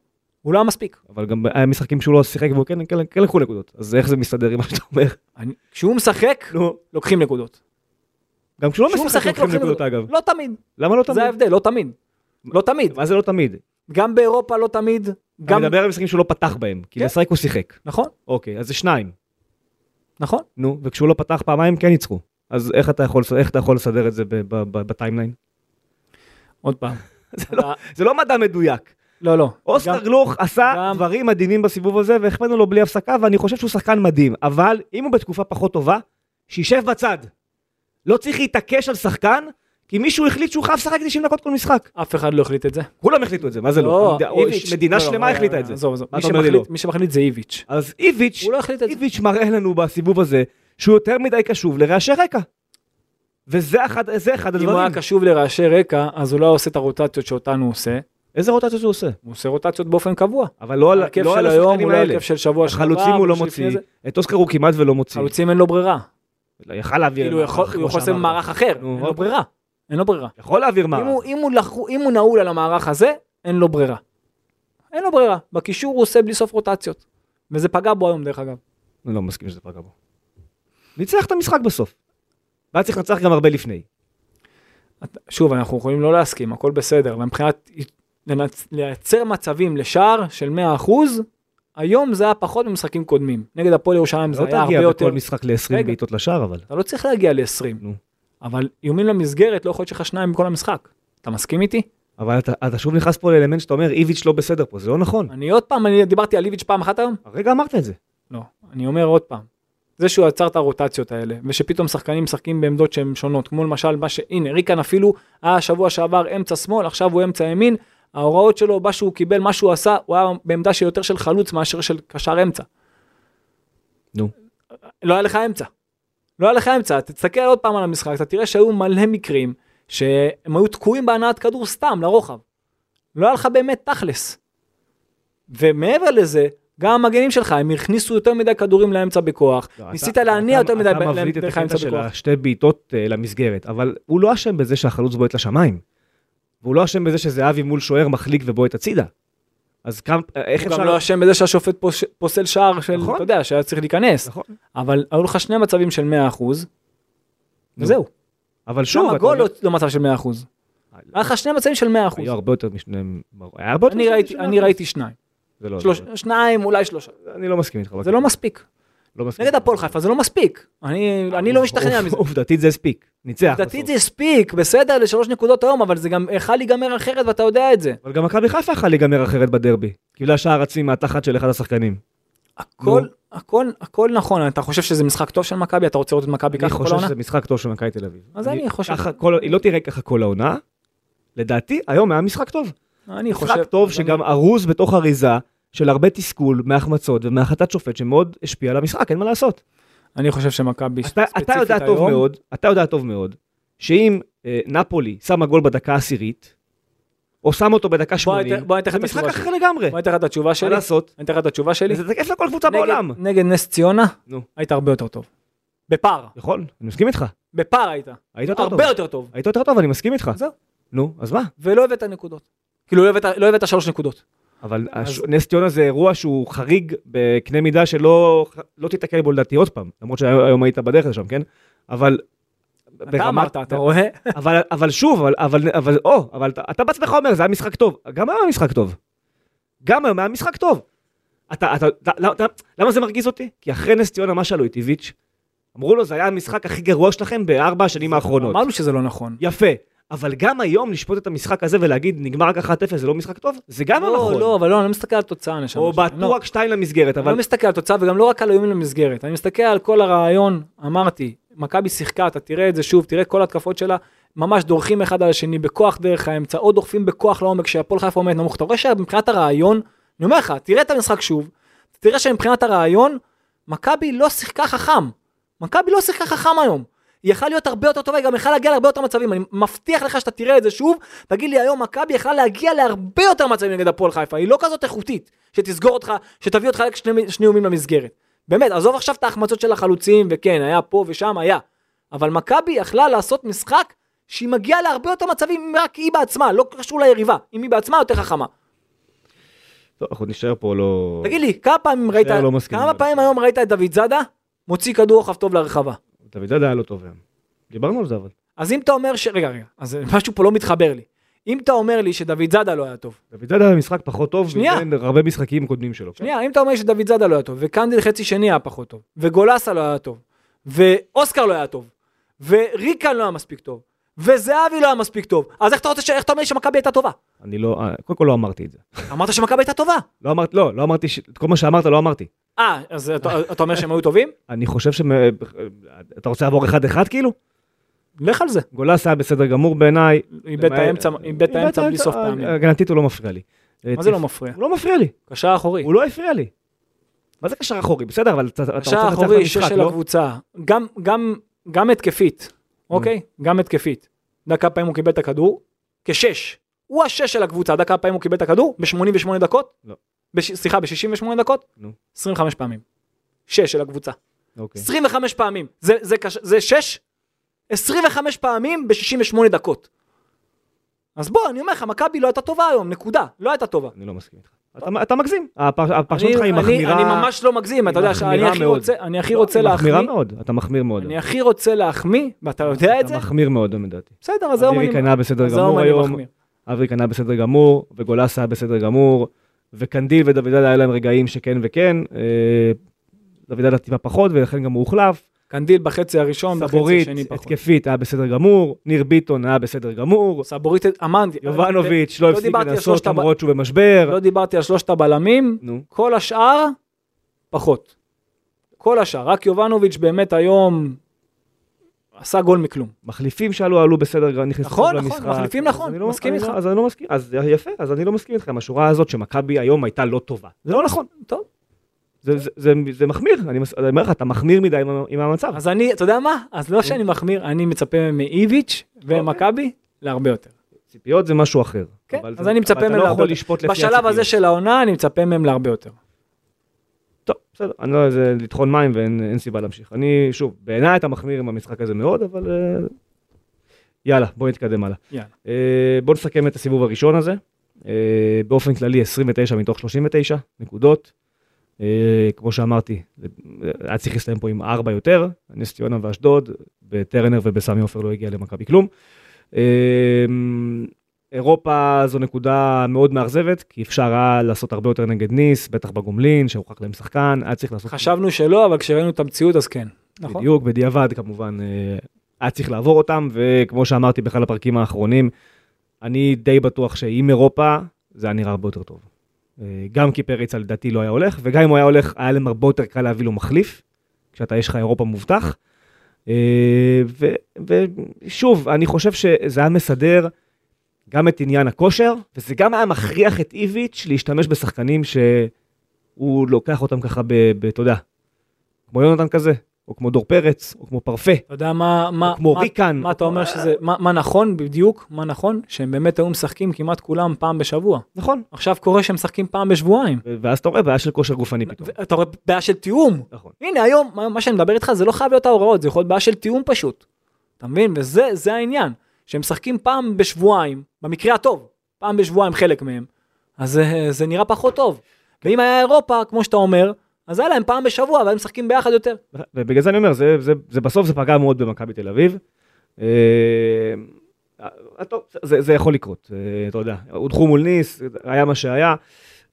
C: הוא לא היה מספיק.
B: אבל גם היה משחקים שהוא לא שיחק והוא כן, כן, כן לקחו נקודות. אז איך זה מסתדר עם מה שאתה אומר?
C: אני- כשהוא משחק,
B: נו.
C: לוקחים נקודות.
B: גם כשהוא לא
C: כשהוא
B: משחק
C: משחק
B: לוקחים
C: לוקחים
B: נקודות אגב.
C: לא תמיד,
B: למה לא
C: זה
B: תמיד?
C: ההבדל, לא תמיד. לא תמיד.
B: מה זה לא תמיד?
C: גם באירופה לא תמיד,
B: אני
C: גם...
B: מדבר על משחקים שהוא לא פתח בהם. כי
C: כן.
B: לשחק הוא שיחק.
C: נכון,
B: אוקיי, אז זה שניים.
C: נכון.
B: נו, וכשהוא לא פתח פעמיים כן ניצחו. אז איך אתה יכול, איך אתה יכול לסדר את זה ב- ב- ב- בטיימליין?
C: עוד פעם.
B: זה לא מדע מדויק.
C: לא, לא.
B: אוסקר
C: גם-
B: גלוך עשה
C: גם-
B: דברים מדהימים בסיבוב הזה, והחמאנו לו בלי הפסקה, ואני חושב שהוא שחקן מדהים. אבל אם הוא בתקופה פחות טובה, שישב בצד. לא צריך להתעקש על שחקן, כי מישהו החליט שהוא חייב לשחק 90 דקות כל משחק.
C: אף אחד לא החליט את זה.
B: כולם החליטו את זה, מה זה לא? המד- או-
C: איביץ'-
B: מדינה
C: לא, לא,
B: שלמה
C: רגע,
B: החליטה
C: רגע,
B: את זה.
C: עזוב, עזוב.
B: מה
C: מי
B: אתה אומר לי
C: שמחליט-
B: לא?
C: מי שמחליט זה איביץ'.
B: אז איביץ',
C: הוא לא החליט את זה.
B: איביץ' מראה לנו בסיבוב הזה שהוא יותר מדי קשוב לרעשי רקע. וזה אחד, זה לא אחד
C: אם הוא היה
B: הדברים.
C: קשוב לרעשי רקע, אז הוא לא היה עושה את הרוטציות שאותן הוא עושה,
B: איזה רוטציות הוא עושה?
C: הוא עושה רוטציות באופן קבוע.
B: אבל לא על
C: ההרכב
B: לא על
C: של היום
B: השחקנים
C: הוא לא
B: האלה.
C: הרכב של שבוע שעבר.
B: חלוצים הוא לא
C: או שלפני
B: מוציא,
C: זה.
B: את אוסקר הוא כמעט ולא מוציא.
C: חלוצים אין לו ברירה.
B: לא, יכל להעביר
C: כאילו הוא
B: מערך,
C: יכול-
B: נכון, כמו
C: הוא יכול לעשות
B: שאמרת.
C: מערך אחר,
B: נו,
C: אין לו
B: אוקיי.
C: ברירה. אין לו ברירה.
B: יכול להעביר מערך.
C: אם הוא- אם הוא לח- אם הוא נעול על המערך הזה, אין לו ברירה. אין לו ברירה. בקישור הוא עושה בלי סוף רוטציות. וזה פגע בו היום דרך אגב.
B: אני לא מסכים שזה פגע בו. ניצח את המשחק בסוף. והיה צריך לנצח גם הרבה לפני.
C: שוב, אנחנו יכולים לא להסכים, הכל בסדר, ומבחינת לנצ- לייצר מצבים לשער של 100%, היום זה היה פחות ממשחקים קודמים. נגד הפועל ירושלים זה
B: לא
C: היה הרבה
B: תגיע
C: יותר.
B: בכל משחק ל-20
C: רגע.
B: בעיטות לשער, אבל.
C: אתה לא צריך להגיע ל-20,
B: נו.
C: אבל איומים למסגרת לא יכול להיות שלך שניים בכל המשחק. אתה מסכים איתי?
B: אבל אתה, אתה שוב נכנס פה לאלמנט שאתה אומר, איביץ' לא בסדר פה, זה לא נכון.
C: אני עוד פעם, אני דיברתי על איביץ' פעם אחת היום?
B: הרגע אמרת את זה.
C: לא. אני אומר עוד פעם, זה שהוא יצר את הרוטציות האלה, ושפתאום שחקנים משחקים בעמדות שהן שונות, כמו למשל מה ש... הנה, ריקן אפילו היה שבוע שעבר אמצע שמאל, עכשיו הוא אמצע ימין, ההוראות שלו, מה שהוא קיבל, מה שהוא עשה, הוא היה בעמדה שיותר של חלוץ מאשר של קשר אמצע.
B: נו.
C: לא היה לך אמצע. לא היה לך אמצע, תסתכל עוד פעם על המשחק, אתה תראה שהיו מלא מקרים שהם היו תקועים בהנעת כדור סתם לרוחב. לא היה לך באמת תכלס. ומעבר לזה, גם המגנים שלך, הם הכניסו יותר מדי כדורים לאמצע בכוח,
B: לא,
C: ניסית
B: אתה-
C: להניע
B: אתה-
C: יותר מדי ב-
B: אתה מבליט את
C: דרך האמצע
B: הקטע של
C: בכוח.
B: השתי בעיטות אה, למסגרת, אבל הוא לא אשם בזה שהחלוץ בועט לשמיים. והוא לא אשם בזה שזהבי מול שוער מחליק ובועט הצידה. אז כמה, אה, איך
C: הוא
B: אפשר...
C: גם לא אשם בזה שהשופט פוש- פוסל שער של,
B: נכון.
C: אתה יודע, שהיה צריך להיכנס.
B: נכון.
C: אבל היו לך שני מצבים של 100%,
B: נו.
C: וזהו.
B: אבל שוב,
C: שוב,
B: אתה
C: הגול
B: אומר-
C: לא- לא מצב של 100%. היה לך שני מצבים של 100%.
B: היו הרבה יותר משניהם, היה הרבה יותר
C: אני
B: משני-
C: ראיתי-
B: משני-
C: אני ראיתי שניים.
B: זה לא-
C: שלוש- שניים, אולי שלושה.
B: אני לא מסכים איתך.
C: זה לא מספיק.
B: לא מסכים.
C: נגד הפועל חיפה זה לא מספיק. אני אני לא משתכנע
B: עובד-
C: מזה.
B: עובדתית זה הספיק, ניצח.
C: עובדתית זה
B: בסוף.
C: הספיק, בסדר, לשלוש נקודות היום, אבל זה גם יכל להיגמר אחרת ואתה יודע את זה.
B: אבל גם מכבי חיפה יכלה להיגמר אחרת בדרבי. קיבלה שער עצמי מהתחת של אחד השחקנים.
C: הכל,
B: נו.
C: הכל, הכל נכון, אתה חושב שזה משחק טוב של מכבי, אתה רוצה לראות את מכבי
B: אני
C: ככה כל
B: חושב
C: העונה?
B: שזה משחק טוב של מכבי תל אביב.
C: אז אני חושב-
B: ככה כל- היא לא תראה ככה כל העונה. לדעתי, היום היה משחק טוב.
C: אני חושב,
B: משחק טוב
C: אז
B: שגם ארוז בתוך אריזה של הרבה תסכול מהחמצות ומהחלטת שופט שמאוד השפיע על המשחק, אין מה לעשות.
C: אני, אני חושב שמכבי
B: אתה,
C: ספציפית
B: אתה יודע טוב
C: היום,
B: מאוד, אתה יודע טוב מאוד, שאם אה, נפולי שמה גול בדקה העשירית, או שם אותו בדקה
C: בוא, אני
B: 80,
C: אתן- בוא אני אתן לך
B: זה
C: את
B: משחק
C: התשובה
B: אחר
C: שלי.
B: לגמרי.
C: בוא אני אתן לך את התשובה
B: מה
C: שלי.
B: לעשות?
C: אני אתן לך את התשובה שלי.
B: זה תקף לכל קבוצה
C: נגד-
B: בעולם.
C: נגד נס ציונה,
B: נו.
C: היית הרבה יותר טוב. בפער,
B: נכון, אני מסכים איתך.
C: בפער היית.
B: היית יותר טוב.
C: הרבה יותר טוב.
B: היית יותר טוב, אני מסכים איתך.
C: זהו.
B: נו, אז מה?
C: ולא הבאת נקודות. כאילו לא הבאת- לא הבאת שלוש נקודות.
B: אבל
C: אז-
B: הש- נס ציונה זה אירוע שהוא חריג בקנה מידה שלא לא תיתקל בו לדעתי עוד פעם, למרות שהיום היית בדרך לשם, כן? אבל... ברמת-
C: אתה אמרת, אתה רואה?
B: אבל, אבל שוב, אבל, אבל, אבל, או, אבל אתה, אתה בעצמך אומר, זה היה משחק טוב. גם היום היה משחק טוב. גם היום היה משחק טוב. אתה, אתה, אתה, למה, אתה, למה זה מרגיז אותי? כי אחרי נס ציונה, מה שאלו איטיביץ'? אמרו לו, זה היה המשחק הכי גרוע שלכם בארבע השנים האחרונות.
C: אמרנו שזה לא נכון.
B: יפה. אבל גם היום לשפוט את המשחק הזה ולהגיד, נגמר רק 1-0, זה לא משחק טוב? זה גם לא
C: לא,
B: נכון.
C: לא, אבל לא, אני לא מסתכל על התוצאה, נשמה.
B: או
C: שלי. לא.
B: בעטו רק 2 למסגרת,
C: אבל...
B: אבל...
C: לא מסתכל על תוצאה וגם לא רק על איומים למסגרת, אני מסתכל על כל הרעיון, אמרתי, מכבי שיחקה, אתה תראה את זה שוב, תראה כל ההתקפות שלה, ממש דורכים אחד על השני בכוח דרך האמצע, או דוחפים בכוח לעומק כשהפועל חיפה עומד נמוך, אתה רואה שמבחינת הרעיון, אני אומר לך, תראה את המשחק שוב, תראה שמבחינת הרעיון, מכבי לא שיחקה חכם, מכבי לא שיחקה חכם היום. היא יכלה להיות הרבה יותר טובה, היא גם יכלה להגיע להרבה יותר מצבים, אני מבטיח לך שאתה תראה את זה שוב, תגיד לי היום, מכבי יכלה להגיע להרבה יותר מצבים נגד הפועל חיפה, היא לא כזאת איכותית, שתסגור אותך, שתביא אותך רק שני, שני איומים למסגרת. באמת, עזוב עכשיו את ההחמצות של החלוצים, וכן, היה פה ושם, היה. אבל מכבי יכלה לעשות משחק שהיא מגיעה להרבה יותר מצבים, אם רק היא בעצמה, לא קשור ליריבה, אם היא בעצמה יותר חכמה.
B: טוב, אנחנו נשאר פה לא...
C: תגיד לי, כמה פעמים ראית,
B: לא מסכים.
C: כמה פעמים היום ראית את דוד זאדה מוציא כדור חף טוב לרחבה?
B: דוד זאדה היה לא טוב היום. דיברנו על זה אבל.
C: אז אם אתה אומר ש... רגע, רגע, אז משהו פה לא מתחבר לי. אם אתה אומר לי שדוד זאדה לא היה טוב,
B: דוד זאדה היה משחק פחות טוב,
C: שנייה.
B: מבין הרבה משחקים קודמים שלו.
C: שנייה, אם אתה אומר שדוד זאדה לא היה טוב, וקנדיל חצי שני היה פחות טוב, וגולסה לא היה טוב, ואוסקר לא היה טוב, וריקן לא היה מספיק טוב, וזהבי לא היה מספיק טוב, אז איך אתה רוצה ש... איך אתה אומר לי שמכבי הייתה טובה?
B: אני לא... אה, קודם כל לא אמרתי את זה.
C: אמרת שמכבי הייתה טובה.
B: לא אמרתי, לא, לא אמרתי, ש... את כל מה שאמרת לא אמרתי.
C: אה, אז אתה, אתה אומר שהם היו טובים?
B: אני חושב ש... אתה רוצה לעבור אחד-אחד כאילו?
C: לך על זה.
B: גולס היה בסדר גמור בעיניי.
C: איבד את האמצע, איבד את אה, האמצע בלי סוף פעמים.
B: הגנתית הוא לא מפריע לי.
C: מה זה לא מפריע?
B: הוא לא מפריע לי,
C: קשר אחורי.
B: הוא לא הפריע לי. מה זה קשר אחורי? בסדר, אבל אתה אתה רוצה
C: קשר
B: לנצח את
C: אחורי, שש
B: המשחק,
C: של
B: לא?
C: הקבוצה. גם, גם, גם התקפית,
B: Mm.
C: אוקיי? גם התקפית. אתה יודע כמה פעמים הוא קיבל את הכדור? כשש. הוא השש של הקבוצה, אתה יודע כמה פעמים הוא קיבל את הכדור? ב-88 דקות?
B: לא.
C: בש- סליחה, ב-68 דקות?
B: נו.
C: 25 פעמים. שש של הקבוצה.
B: אוקיי.
C: 25 פעמים. זה, זה, קש... זה שש? 25 פעמים ב-68 דקות. אז בוא, אני אומר לך, מכבי לא הייתה טובה היום, נקודה. לא הייתה טובה.
B: אני לא מסכים איתך. אתה- אתה מגזים, הפרש- הפרשנות שלך
C: אני-
B: היא
C: אני-
B: מחמירה...
C: אני ממש לא מגזים, אתה
B: היא
C: יודע שאני
B: מחמירה
C: הכי
B: מאוד.
C: רוצה, אני הכי
B: לא,
C: רוצה
B: היא
C: להחמיא.
B: מחמירה מאוד, אתה מחמיר מאוד.
C: אני הכי רוצה להחמיא, ואתה יודע את
B: אתה
C: זה?
B: מחמיר מאוד, לדעתי.
C: בסדר, אז היום
B: אבירי
C: אני
B: קנה בסדר
C: אז היום
B: גמור
C: אני
B: היום.
C: מחמיא.
B: אברי קנה בסדר גמור, וגולס היה בסדר גמור, וקנדיל ודוידדה היה להם רגעים שכן וכן, אה, דוידדה טיפה פחות ולכן גם הוא הוחלף,
C: קנדיל בחצי הראשון, נכון, בחצי
B: סבורית
C: השני פחות.
B: התקפית היה בסדר גמור, ניר ביטון היה בסדר גמור,
C: סבורית, אמרתי. אה,
B: יובנוביץ' לא הפסיק
C: דיברתי על
B: לנסות
C: שלושת הב-
B: למרות שהוא במשבר,
C: לא דיברתי על שלושת הבלמים,
B: נו,
C: כל השאר, פחות. כל השאר, רק יובנוביץ' באמת היום עשה גול מכלום.
B: מחליפים שעלו עלו בסדר גמור, נכנסו
C: נכון,
B: טוב
C: נכון,
B: למשחק,
C: מחליפים
B: אז
C: נכון,
B: אני לא-
C: מסכים
B: אני
C: איתך.
B: לא- אז אני לא מסכים, אז יפה, אז אני לא מסכים איתך עם השורה הזאת שמכבי היום הייתה לא טובה, זה לא נכון,
C: טוב.
B: זה- זה- זה- זה מחמיר, אני מס- אני אומר לך, אתה מחמיר מדי עם ה- עם המצב.
C: אז אני, אתה יודע מה? אז לא שאני מחמיר, אני מצפה מאיביץ' ומכבי להרבה יותר.
B: ציפיות זה משהו אחר.
C: כן,
B: אבל
C: אז
B: זה-
C: אני מצפה
B: אבל
C: מהם
B: אתה לא
C: להרבה
B: יכול
C: יותר.
B: לשפוט לפי הציפיות.
C: בשלב הזה של העונה אני מצפה מהם להרבה יותר.
B: בסדר, אני לא, זה לטחון מים ואין אין סיבה להמשיך. אני, שוב, בעיניי אתה מחמיר עם המשחק הזה מאוד, אבל אה, יאללה, בוא נתקדם הלאה.
C: יאללה.
B: אה, בוא נסכם את הסיבוב הראשון הזה. אה, באופן כללי 29 מתוך 39 נקודות. אה, כמו שאמרתי, זה- היה צריך להסתיים פה עם 4 יותר, נס ציונה ואשדוד, בטרנר ובסמי עופר לא הגיע למכבי כלום. אה, אירופה זו נקודה מאוד מאכזבת, כי אפשר היה לעשות הרבה יותר נגד ניס, בטח בגומלין, שהוכח להם שחקן, היה צריך לעשות...
C: חשבנו שלא, אבל כשראינו את המציאות אז כן. נכון?
B: בדיוק, בדיעבד כמובן, אה, היה צריך לעבור אותם, וכמו שאמרתי באחד הפרקים האחרונים, אני די בטוח שעם אירופה זה היה נראה הרבה יותר טוב. אה, גם כי פריצה לדעתי לא היה הולך, וגם אם הוא היה הולך, היה להם הרבה יותר קל להביא לו מחליף, כשאתה, יש לך אירופה מובטח. אה, ו- ושוב, אני חושב שזה היה מסדר גם את עניין הכושר, וזה גם היה מכריח את איביץ' להשתמש בשחקנים שהוא לוקח אותם ככה, ב- ב- אתה יודע, כמו יונתן כזה, או כמו דור פרץ, או כמו פרפה,
C: אתה יודע מה, מה,
B: או כמו
C: מה-
B: ריקן.
C: מה אתה אומר שזה, מה מה נכון בדיוק, מה נכון, שהם באמת היו משחקים כמעט כולם פעם בשבוע.
B: נכון.
C: עכשיו קורה שהם משחקים פעם בשבועיים.
B: ו- ואז אתה רואה בעיה של כושר גופני פתאום.
C: ו- אתה רואה בעיה של תיאום.
B: נכון.
C: הנה היום, מה, מה שאני מדבר איתך זה לא חייב להיות ההוראות, זה יכול להיות בעיה של תיאום פשוט. אתה מבין? וזה זה העניין. שהם משחקים פעם בשבועיים, במקרה הטוב, פעם בשבועיים חלק מהם, אז זה, זה נראה פחות טוב. ואם היה אירופה, כמו שאתה אומר, אז היה להם פעם בשבוע, והם משחקים ביחד יותר.
B: ובגלל זה אני אומר, זה, זה, זה בסוף זה פגע מאוד במכבי תל אביב. אה, אה, טוב, זה, זה יכול לקרות, אה, אתה יודע. הודחו מול ניס, היה מה שהיה.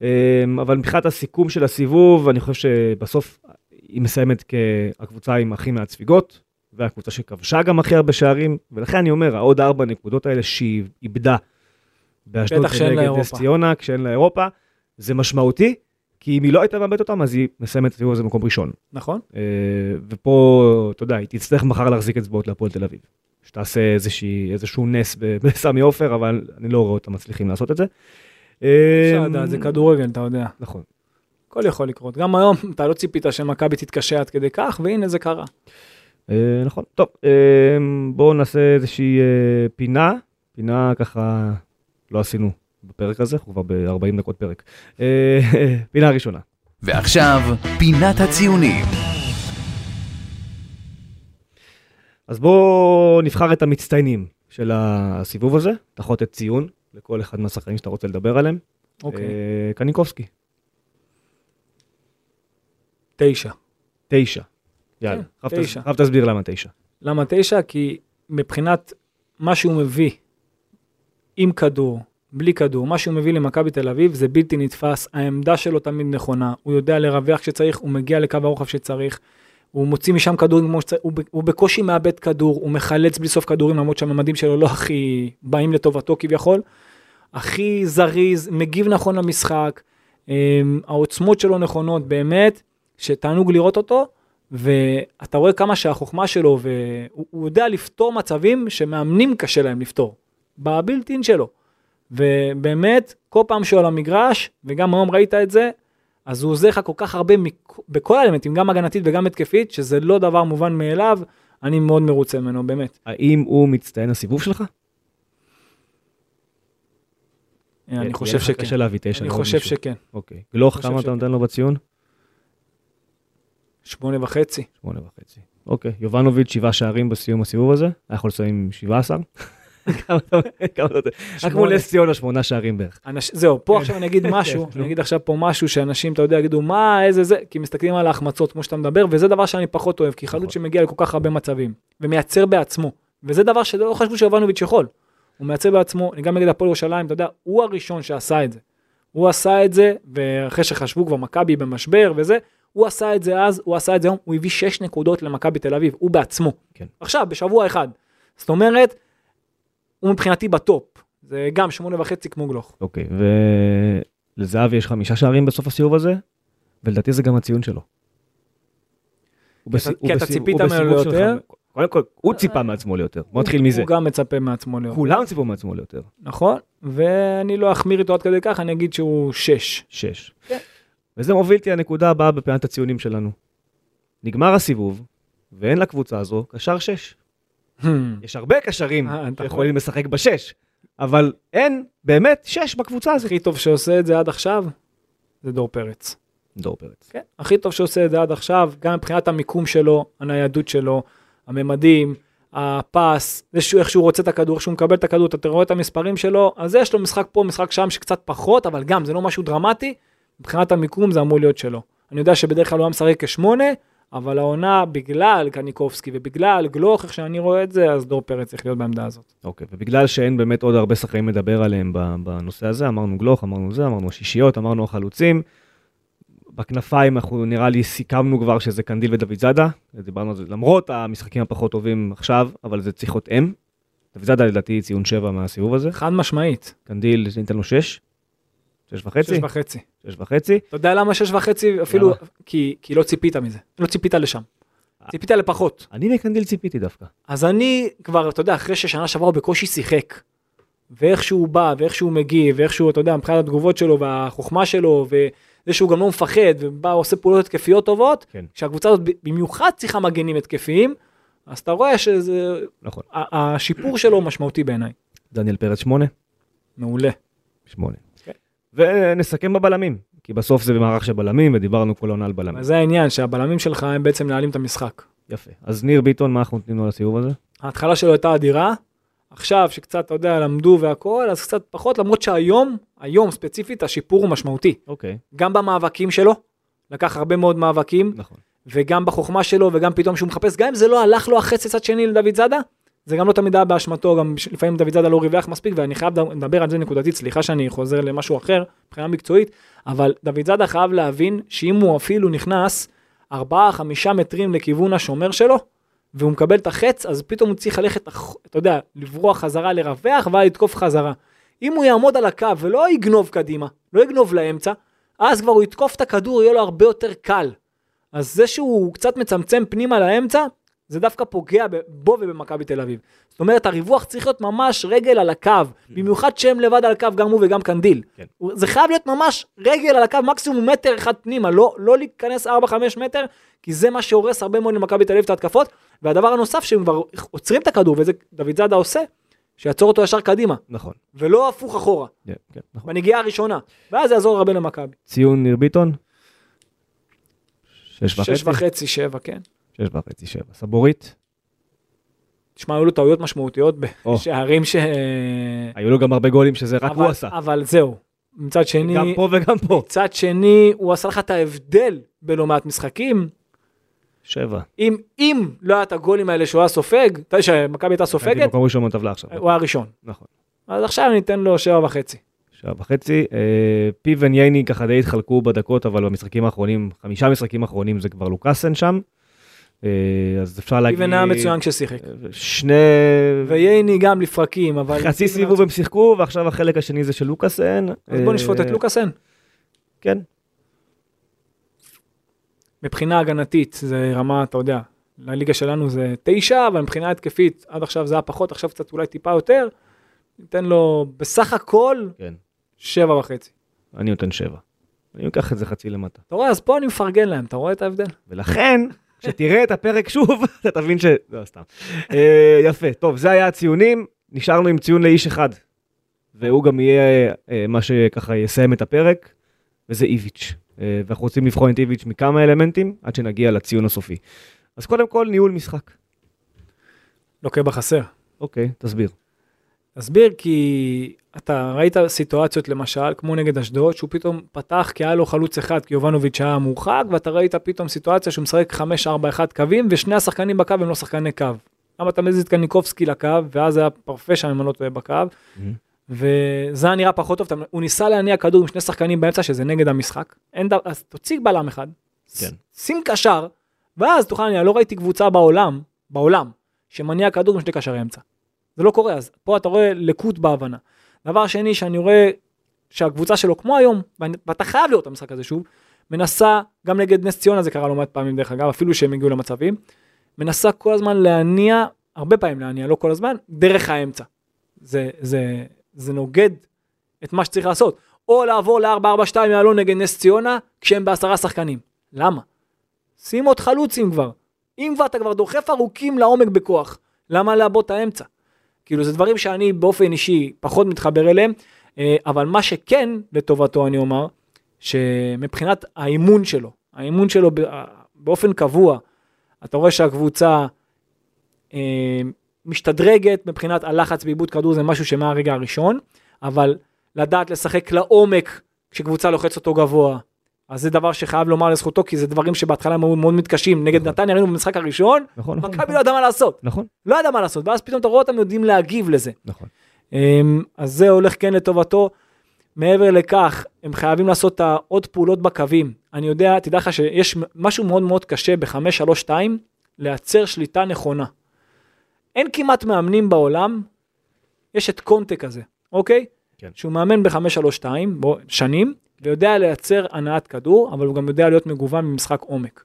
B: אה, אבל מבחינת הסיכום של הסיבוב, אני חושב שבסוף היא מסיימת כהקבוצה עם הכי מעט ספיגות, והקבוצה שכבשה גם הכי הרבה שערים, ולכן אני אומר, העוד ארבע נקודות האלה שהיא איבדה באשדוד
C: בטח שאין לה
B: נגד
C: אירופה.
B: נס ציונה, כשאין לה אירופה, זה משמעותי, כי אם היא לא הייתה מאבדת אותם, אז היא מסיימת את הסיבוב הזה במקום ראשון.
C: נכון?
B: אה, ופה, אתה יודע, היא תצטרך מחר להחזיק אצבעות להפועל תל אביב. שתעשה איזושהי, איזשהו נס ב- בסמי עופר, אבל אני לא רואה אותם מצליחים לעשות את זה.
C: אפשר
B: אה,
C: לדעת, זה כדורגל, אתה יודע.
B: נכון.
C: הכל יכול לקרות. גם היום, אתה לא ציפית שמכבי תתקשה עד כדי כך, והנה זה קרה.
B: אה, נכון. טוב, אה, בואו נעשה איזושהי אה, פינה. פינה ככה לא עשינו בפרק הזה, אנחנו כבר ב-40 דקות פרק. אה, פינה ראשונה.
A: ועכשיו, פינת הציונים.
B: אז בואו נבחר את המצטיינים של הסיבוב הזה, תחת את ציון לכל אחד מהשחקנים שאתה רוצה לדבר עליהם.
C: אוקיי.
B: אה, קניקובסקי.
C: תשע.
B: תשע. יאללה,
C: כן,
B: עכשיו
C: תשע.
B: תס- עכשיו תסביר למה תשע.
C: למה תשע? כי מבחינת מה שהוא מביא עם כדור, בלי כדור, מה שהוא מביא למכבי תל אביב זה בלתי נתפס, העמדה שלו תמיד נכונה, הוא יודע לרווח כשצריך, הוא מגיע לקו הרוחב שצריך, הוא מוציא משם כדורים כמו שצריך, הוא, ב- הוא בקושי מאבד כדור, הוא מחלץ בלי סוף כדורים למרות שהממדים שלו לא הכי באים לטובתו כביכול, הכי זריז, מגיב נכון למשחק, אמ, העוצמות שלו נכונות באמת, שתענוג לראות אותו, ואתה רואה כמה שהחוכמה שלו, והוא הוא יודע לפתור מצבים שמאמנים קשה להם לפתור, בבילט אין שלו. ובאמת, כל פעם שהוא על המגרש, וגם היום ראית את זה, אז הוא עוזר לך כל כך הרבה מכ... בכל האלמנטים, גם הגנתית וגם התקפית, שזה לא דבר מובן מאליו, אני מאוד מרוצה ממנו, באמת.
B: האם הוא מצטיין הסיבוב שלך?
C: אני
B: כן, יהיה
C: חושב
B: לך
C: שכן.
B: קשה להביא תשע.
C: אני
B: לעוד
C: חושב
B: מישהו.
C: שכן.
B: אוקיי. גלוך,
C: חושב
B: כמה אתה
C: שכן.
B: נותן לו בציון?
C: שמונה וחצי.
B: שמונה וחצי. אוקיי. יובנוביץ', שבעה שערים בסיום הסיבוב הזה. היה יכול לסיים עם 17. כמה אתה כמה אתה נותן? רק מול
C: שמונה.
B: נס ציונה, שמונה שערים בערך.
C: אנש... זהו,
B: כן.
C: פה עכשיו אני אגיד משהו, אני אגיד עכשיו פה משהו שאנשים, אתה יודע, יגידו, מה, איזה זה, כי מסתכלים על ההחמצות כמו שאתה מדבר, וזה דבר שאני פחות אוהב, כי
B: נכון.
C: חלוץ שמגיע לכל כך הרבה מצבים, ומייצר בעצמו, וזה דבר שלא חשבו שיובנוביץ' יכול. הוא מייצר בעצמו, גם נגד הפועל ירושלים, אתה יודע, הוא הראשון שעשה את זה. הוא עשה את זה, ואחרי שחשבו כבר מכבי במשבר וזה, הוא עשה את זה אז, הוא עשה את זה היום, הוא הביא 6 נקודות למכבי תל אביב, הוא בעצמו.
B: כן.
C: עכשיו, בשבוע אחד. זאת אומרת, הוא מבחינתי בטופ. זה גם שמונה וחצי כמו גלוך.
B: אוקיי. ולזהבי יש חמישה שערים בסוף הסיבוב הזה, ולדעתי זה גם הציון שלו. הוא
C: אתה-
B: בסי-
C: כי
B: הוא
C: אתה
B: בסי-
C: ציפית
B: הוא בסיבוב
C: ממנו
B: שלך-
C: ליותר? אה,
B: קודם כל, הוא ציפה מעצמו ליותר. בוא נתחיל מזה.
C: הוא גם מצפה מעצמו להיות,
B: כולם ציפו מעצמו ליותר.
C: נכון? ואני לא אחמיר איתו עד כדי כך, אני אגיד שהוא שש.
B: שש. וזה מוביל אותי לנקודה הבאה בפינת הציונים שלנו. נגמר הסיבוב, ואין לקבוצה הזו קשר שש. יש הרבה קשרים
C: אה, אתה
B: שיכולים לשחק בשש, אבל אין באמת שש בקבוצה הזאת.
C: הכי טוב שעושה את זה עד עכשיו, זה דור פרץ.
B: דור פרץ.
C: כן, הכי טוב שעושה את זה עד עכשיו, גם מבחינת המיקום שלו, הניידות שלו, הממדים, הפס, זה שהוא, איך שהוא רוצה את הכדור, איך שהוא מקבל את הכדור, אתה רואה את המספרים שלו, אז יש לו משחק פה, משחק שם שקצת פחות, אבל גם זה לא משהו דרמטי, מבחינת המיקום זה אמור להיות שלו. אני יודע שבדרך כלל הוא היה משחק כשמונה, אבל העונה, בגלל קניקובסקי ובגלל גלוך, איך שאני רואה את זה, אז דור פרץ צריך להיות בעמדה הזאת.
B: אוקיי, ובגלל שאין באמת עוד הרבה שחקנים לדבר עליהם ב- בנושא הזה, אמרנו גלוך, אמרנו זה, אמרנו השישיות, אמרנו החלוצים. בכנפיים אנחנו נראה לי סיכמנו כבר שזה קנדיל ודוד זאדה, דיברנו על זה למרות המשחקים הפחות טובים עכשיו, אבל זה צריך להיות אם. דוד זאדה לדעתי ציון 7 מהסיבוב הזה,
C: חד משמעית,
B: קנדיל ניתן לו 6, 6 וחצי,
C: שש וחצי.
B: 6 וחצי.
C: אתה יודע למה שש וחצי אפילו,
B: למה?
C: כי, כי לא ציפית מזה, לא ציפית לשם. ציפית לפחות.
B: אני מקנדיל ציפיתי דווקא.
C: אז אני כבר, אתה יודע, אחרי ששנה שעברה הוא בקושי שיחק, ואיך שהוא בא, ואיך שהוא מגיב, ואיך שהוא, אתה יודע, מבחינת התגובות שלו, והחוכמה שלו, וזה שהוא גם לא מפחד, ובא, עושה פעולות התקפיות טובות,
B: כן.
C: כשהקבוצה הזאת במיוחד צריכה מגנים התקפיים, אז אתה רואה שזה,
B: נכון.
C: ה- השיפור שלו משמעותי בעיניי.
B: דניאל פרץ 8?
C: מעולה.
B: 8.
C: כן.
B: ונסכם בבלמים, כי בסוף זה במערך של בלמים, ודיברנו כל העונה על בלמים.
C: אבל זה העניין, שהבלמים שלך הם בעצם מנהלים את המשחק.
B: יפה. אז ניר ביטון, מה אנחנו נותנים לו לסיבוב הזה?
C: ההתחלה שלו הייתה אדירה, עכשיו שקצת, אתה יודע, למדו והכול, אז קצת פחות, למרות שהיום, היום ספציפית, השיפור הוא משמעותי.
B: אוקיי.
C: גם במאבקים שלו, לקח הרבה מאוד מאבקים,
B: נכון.
C: וגם בחוכמה שלו, וגם פתאום שהוא מחפש, גם אם זה לא הלך לו החץ לצד שני לדוד זאדה, זה גם לא תמיד היה באשמתו, גם ש- לפעמים דוד זאדה לא ריווח מספיק, ואני חייב לדבר על זה נקודתית, סליחה שאני חוזר למשהו אחר, מבחינה מקצועית, אבל דוד זאדה חייב להבין שאם הוא אפילו נכנס 4-5 מטרים לכיוון השומר שלו, והוא מקבל את החץ, אז פתאום הוא צריך ללכת, אח- אתה יודע, לברוח חזרה לרווח, ואז לתקוף חזרה. אם הוא יעמוד על הקו ולא יגנוב קדימה, לא יגנוב לאמצע, אז כבר הוא יתקוף את הכדור, יהיה לו הרבה יותר קל. אז זה שהוא קצת מצמצם פנימה לאמצע, זה דווקא פוגע ב- בו ובמכבי תל אביב. זאת אומרת, הריווח צריך להיות ממש רגל על הקו, במיוחד שהם לבד על הקו, גם הוא וגם קנדיל.
B: כן.
C: הוא- זה חייב להיות ממש רגל על הקו, מקסימום מטר אחד פנימה, לא, לא להיכנס 4-5 מטר, כי זה מה שהורס הרבה מאוד למכבי תל אביב את ההתקפות. והדבר הנוסף, שהם כבר עוצרים את הכדור, וזה דוד זאדה עושה, שיעצור אותו ישר קדימה,
B: נכון.
C: ולא הפוך אחורה,
B: כן, כן, נכון.
C: בנגיעה הראשונה, ואז זה יעזור הרבה למכבי.
B: ציון ניר ביטון? שש וחצי?
C: שש וחצי, שבע, כן.
B: שש וחצי, שבע. סבורית?
C: תשמע, היו לו טעויות משמעותיות
B: או.
C: בשערים ש...
B: היו לו גם הרבה גולים שזה רק
C: אבל-
B: הוא עשה.
C: אבל זהו. מצד שני,
B: גם פה וגם פה.
C: מצד שני, הוא עשה לך את ההבדל בלא מעט משחקים.
B: שבע.
C: אם, אם לא היה את הגולים האלה שהוא היה סופג, אתה יודע שמכבי הייתה
B: הייתי
C: סופגת,
B: במקום ראשון בטבלה עכשיו.
C: הוא היה ראשון.
B: נכון.
C: אז עכשיו ניתן לו שבע וחצי.
B: שעה וחצי. אה, פיבן ייני ככה די התחלקו בדקות, אבל במשחקים האחרונים, חמישה משחקים האחרונים זה כבר לוקאסן שם. אה, אז אפשר להגיד...
C: איבן היה מצוין כששיחק.
B: אה, שני...
C: וייני גם לפרקים, אבל...
B: חצי סיבוב הם שיחקו, ועכשיו החלק השני זה של לוקאסן.
C: אז בוא נשפוט את
B: אה,
C: לוקאסן.
B: כן.
C: מבחינה הגנתית זה רמה, אתה יודע, לליגה שלנו זה תשע, אבל מבחינה התקפית עד עכשיו זה היה פחות, עכשיו קצת אולי טיפה יותר. ניתן לו בסך הכל
B: כן.
C: שבע וחצי.
B: אני נותן שבע. אני אקח את זה חצי למטה.
C: אתה רואה, אז פה אני מפרגן להם, אתה רואה את ההבדל?
B: ולכן, כשתראה את הפרק שוב, אתה תבין ש... לא, סתם. אה, יפה, טוב, זה היה הציונים, נשארנו עם ציון לאיש אחד. והוא גם יהיה אה, מה שככה יסיים את הפרק, וזה איביץ'. אה, ואנחנו רוצים לבחון את איביץ' מכמה אלמנטים, עד שנגיע לציון הסופי. אז קודם כל, ניהול משחק.
C: לוקה בחסר.
B: אוקיי, תסביר.
C: תסביר כי אתה ראית סיטואציות למשל, כמו נגד אשדוד, שהוא פתאום פתח כי היה לו חלוץ אחד, כי יובנוביץ' היה מורחק, ואתה ראית פתאום סיטואציה שהוא משחק 5-4-1 קווים, ושני השחקנים בקו הם לא שחקני קו. למה אתה מזיז את קניקובסקי לקו, ואז היה פרפה שם, אם אני לא טועה, בקו, וזה היה נראה פחות טוב, אתה- הוא ניסה להניע כדור עם שני שחקנים באמצע, שזה נגד המשחק. אין דבר, אז תוציא בלם אחד,
B: כן.
C: שים קשר, ואז תוכל להניע, לא ראיתי קבוצה בעולם, בעולם, שמניע כדור עם שני קשרי אמצע. זה לא קורה, אז פה אתה רואה לקות בהבנה. דבר שני שאני רואה שהקבוצה שלו כמו היום, ואני- ואתה חייב לראות את המשחק הזה שוב, מנסה, גם נגד נס ציונה זה קרה לא מעט פעמים דרך אגב, אפילו שהם הגיעו למצבים, מנסה כל הזמן להניע, הרבה פעמים להניע, לא כל הזמן, דרך האמצע. זה, זה, זה נוגד את מה שצריך לעשות. או לעבור ל-442 יעלון נגד נס ציונה, כשהם בעשרה שחקנים. למה? שים עוד חלוצים כבר. אם כבר אתה כבר דוחף ארוכים לעומק בכוח, למה לעבוד את האמצע? כאילו זה דברים שאני באופן אישי פחות מתחבר אליהם, אה, אבל מה שכן לטובתו אני אומר, שמבחינת האימון שלו, האימון שלו ב- אה, באופן קבוע, אתה רואה שהקבוצה אה, משתדרגת מבחינת הלחץ בעיבוד כדור זה משהו שמהרגע הראשון, אבל לדעת לשחק לעומק כשקבוצה לוחצת אותו גבוה. אז זה דבר שחייב לומר לזכותו, כי זה דברים שבהתחלה הם היו מאוד מתקשים. נגד נתניה ראינו במשחק הראשון,
B: נכון, נכון,
C: מכבי לא ידע מה לעשות,
B: נכון,
C: לא ידע מה לעשות, ואז פתאום אתה רואה אותם יודעים להגיב לזה.
B: נכון.
C: אמ, אז זה הולך כן לטובתו. מעבר לכך, הם חייבים לעשות את העוד פעולות בקווים. אני יודע, תדע לך שיש מ- משהו מאוד מאוד קשה ב-532, לייצר שליטה נכונה. אין כמעט מאמנים בעולם, יש את קונטה כזה, אוקיי?
B: כן.
C: שהוא מאמן ב-532 שנים, ויודע לייצר הנעת כדור, אבל הוא גם יודע להיות מגוון ממשחק עומק.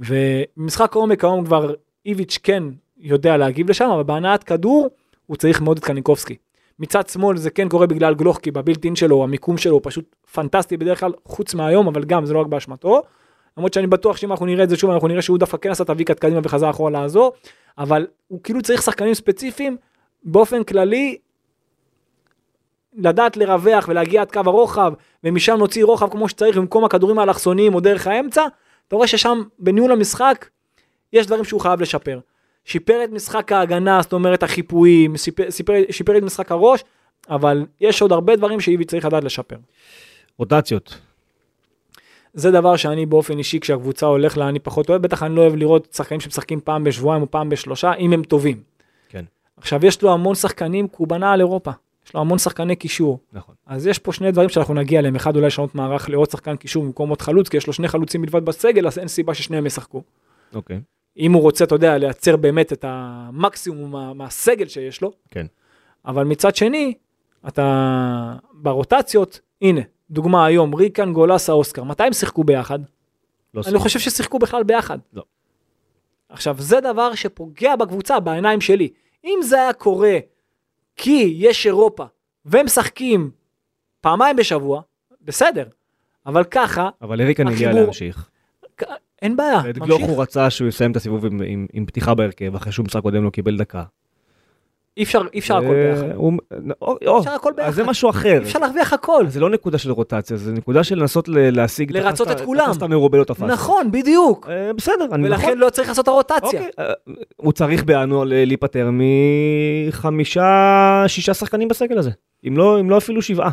C: ובמשחק עומק היום כבר איביץ' כן יודע להגיב לשם, אבל בהנעת כדור הוא צריך מאוד את קניקובסקי. מצד שמאל זה כן קורה בגלל גלוך, כי בבילטין שלו, המיקום שלו הוא פשוט פנטסטי בדרך כלל, חוץ מהיום, אבל גם זה לא רק באשמתו. למרות שאני בטוח שאם אנחנו נראה את זה שוב, אנחנו נראה שהוא דווקא כן עשה את הוויקט קדימה וחזר אחורה לעזור, אבל הוא כאילו צריך שחקנים ספציפיים, באופן כללי, לדעת לרווח ולהגיע עד קו הרוחב, ומשם נוציא רוחב כמו שצריך במקום הכדורים האלכסוניים או דרך האמצע, אתה רואה ששם בניהול המשחק יש דברים שהוא חייב לשפר. שיפר את משחק ההגנה, זאת אומרת החיפויים, שיפר, שיפר, שיפר את משחק הראש, אבל יש עוד הרבה דברים שאיבי צריך לדעת לשפר.
B: רוטציות.
C: זה דבר שאני באופן אישי, כשהקבוצה הולך לה, אני פחות אוהב, בטח אני לא אוהב לראות שחקנים שמשחקים פעם בשבועיים או פעם בשלושה, אם הם טובים.
B: כן.
C: עכשיו, יש לו המון שחקנים, כי הוא בנה על אירופה. יש לו המון שחקני קישור.
B: נכון.
C: אז יש פה שני דברים שאנחנו נגיע אליהם, אחד אולי לשנות מערך לעוד שחקן קישור במקום עוד חלוץ, כי יש לו שני חלוצים בלבד בסגל, אז אין סיבה ששניהם ישחקו.
B: אוקיי.
C: אם הוא רוצה, אתה יודע, לייצר באמת את המקסימום מה, מהסגל שיש לו.
B: כן.
C: אבל מצד שני, אתה ברוטציות, הנה, דוגמה היום, ריקן, גולסה, אוסקר, מתי הם שיחקו ביחד?
B: לא
C: אני לא חושב ששיחקו בכלל ביחד.
B: לא.
C: עכשיו, זה דבר שפוגע בקבוצה בעיניים שלי. אם זה היה קורה כי יש אירופה והם משחקים פעמיים בשבוע, בסדר. אבל ככה,
B: אבל אריקן הגיע
C: החיבור-
B: להמשיך.
C: כ- אין בעיה,
B: ואת גלוך
C: ממשיך.
B: הוא לא רצה שהוא יסיים את הסיבוב עם- עם- עם פתיחה בהרכב, אחרי שהוא משחק קודם לא קיבל דקה.
C: אי אפשר, אי אפשר הכל
B: אה,
C: ביחד.
B: הוא- או- או,
C: אפשר הכל
B: אז זה
C: ביחד.
B: משהו אחר.
C: אי אפשר להרוויח הכל.
B: אז זה לא נקודה של רוטציה, זה נקודה של לנסות ל- להשיג...
C: לרצות
B: תפסת-
C: את כולם.
B: תפסת מרובה לא תפסת.
C: נכון, בדיוק.
B: אה, בסדר, אני נכון.
C: ולכן לא צריך לעשות את הרוטציה.
B: אוקיי, אה, הוא צריך בינואר ל- להיפטר מחמישה, שישה שחקנים בסגל הזה. אם לא, אם לא אפילו שבעה,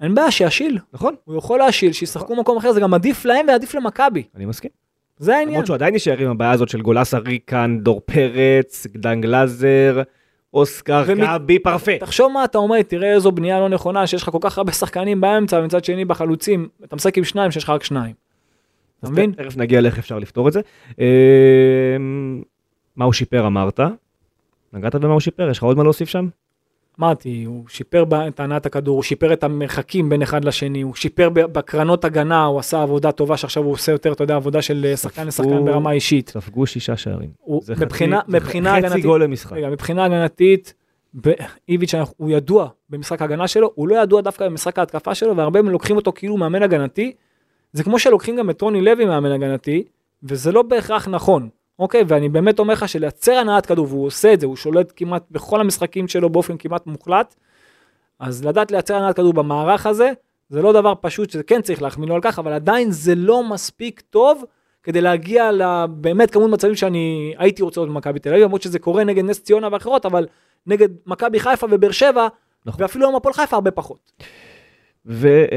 C: אין בעיה, שישיל.
B: נכון?
C: הוא יכול להשיל, שישחקו במקום אחר, זה גם עדיף להם ועדיף למכבי.
B: אני מסכים.
C: זה העניין.
B: למרות שהוא עדיין יישאר עם הבעיה הזאת של גולסה ריקן, דור פרץ, דן גלאזר, אוסקר,
C: ומ-
B: גבי פרפה.
C: תחשוב מה אתה אומר, תראה איזו בנייה לא נכונה, שיש לך כל כך הרבה שחקנים באמצע, ומצד שני בחלוצים, אתה משחק עם שניים שיש לך רק שניים. אתה
B: אז
C: מבין?
B: ת- תכף נגיע לאיך אפשר לפתור את זה. אמ, מה הוא שיפר אמרת? נגעת במה הוא שיפר? יש לך עוד מה להוסיף שם?
C: אמרתי, הוא שיפר ב- את הנעת הכדור, הוא שיפר את המרחקים בין אחד לשני, הוא שיפר ב- בקרנות הגנה, הוא עשה עבודה טובה, שעכשיו הוא עושה יותר, אתה יודע, עבודה של אה, שחקן לשחקן
B: הוא-
C: ברמה אישית.
B: ספגו שישה שערים.
C: הוא-
B: זה
C: מבחינה-
B: חצי- זה
C: מבחינה
B: חצי
C: הגנתית-
B: גול למשחק.
C: רגע, מבחינה הגנתית, ב- איביץ' אנחנו- הוא ידוע במשחק ההגנה שלו, הוא לא ידוע דווקא במשחק ההתקפה שלו, והרבה הם לוקחים אותו כאילו מאמן הגנתי. זה כמו שלוקחים גם את רוני לוי מאמן הגנתי, וזה לא בהכרח נכון, אוקיי? ואני באמת אומר לך שלייצר הנעת כדור, והוא עושה את זה, הוא שולט כמעט בכל המשחקים שלו באופן כמעט מוחלט, אז לדעת לייצר הנעת כדור במערך הזה, זה לא דבר פשוט שזה כן צריך להחמיא לו על כך, אבל עדיין זה לא מספיק טוב כדי להגיע לבאמת כמות מצבים שאני הייתי רוצה לראות במכבי תל אביב, למרות שזה קורה נגד נס ציונה ואחרות, אבל נגד מכבי חיפה ובאר שבע,
B: נכון.
C: ואפילו היום הפועל חיפה הרבה פחות.
B: ואני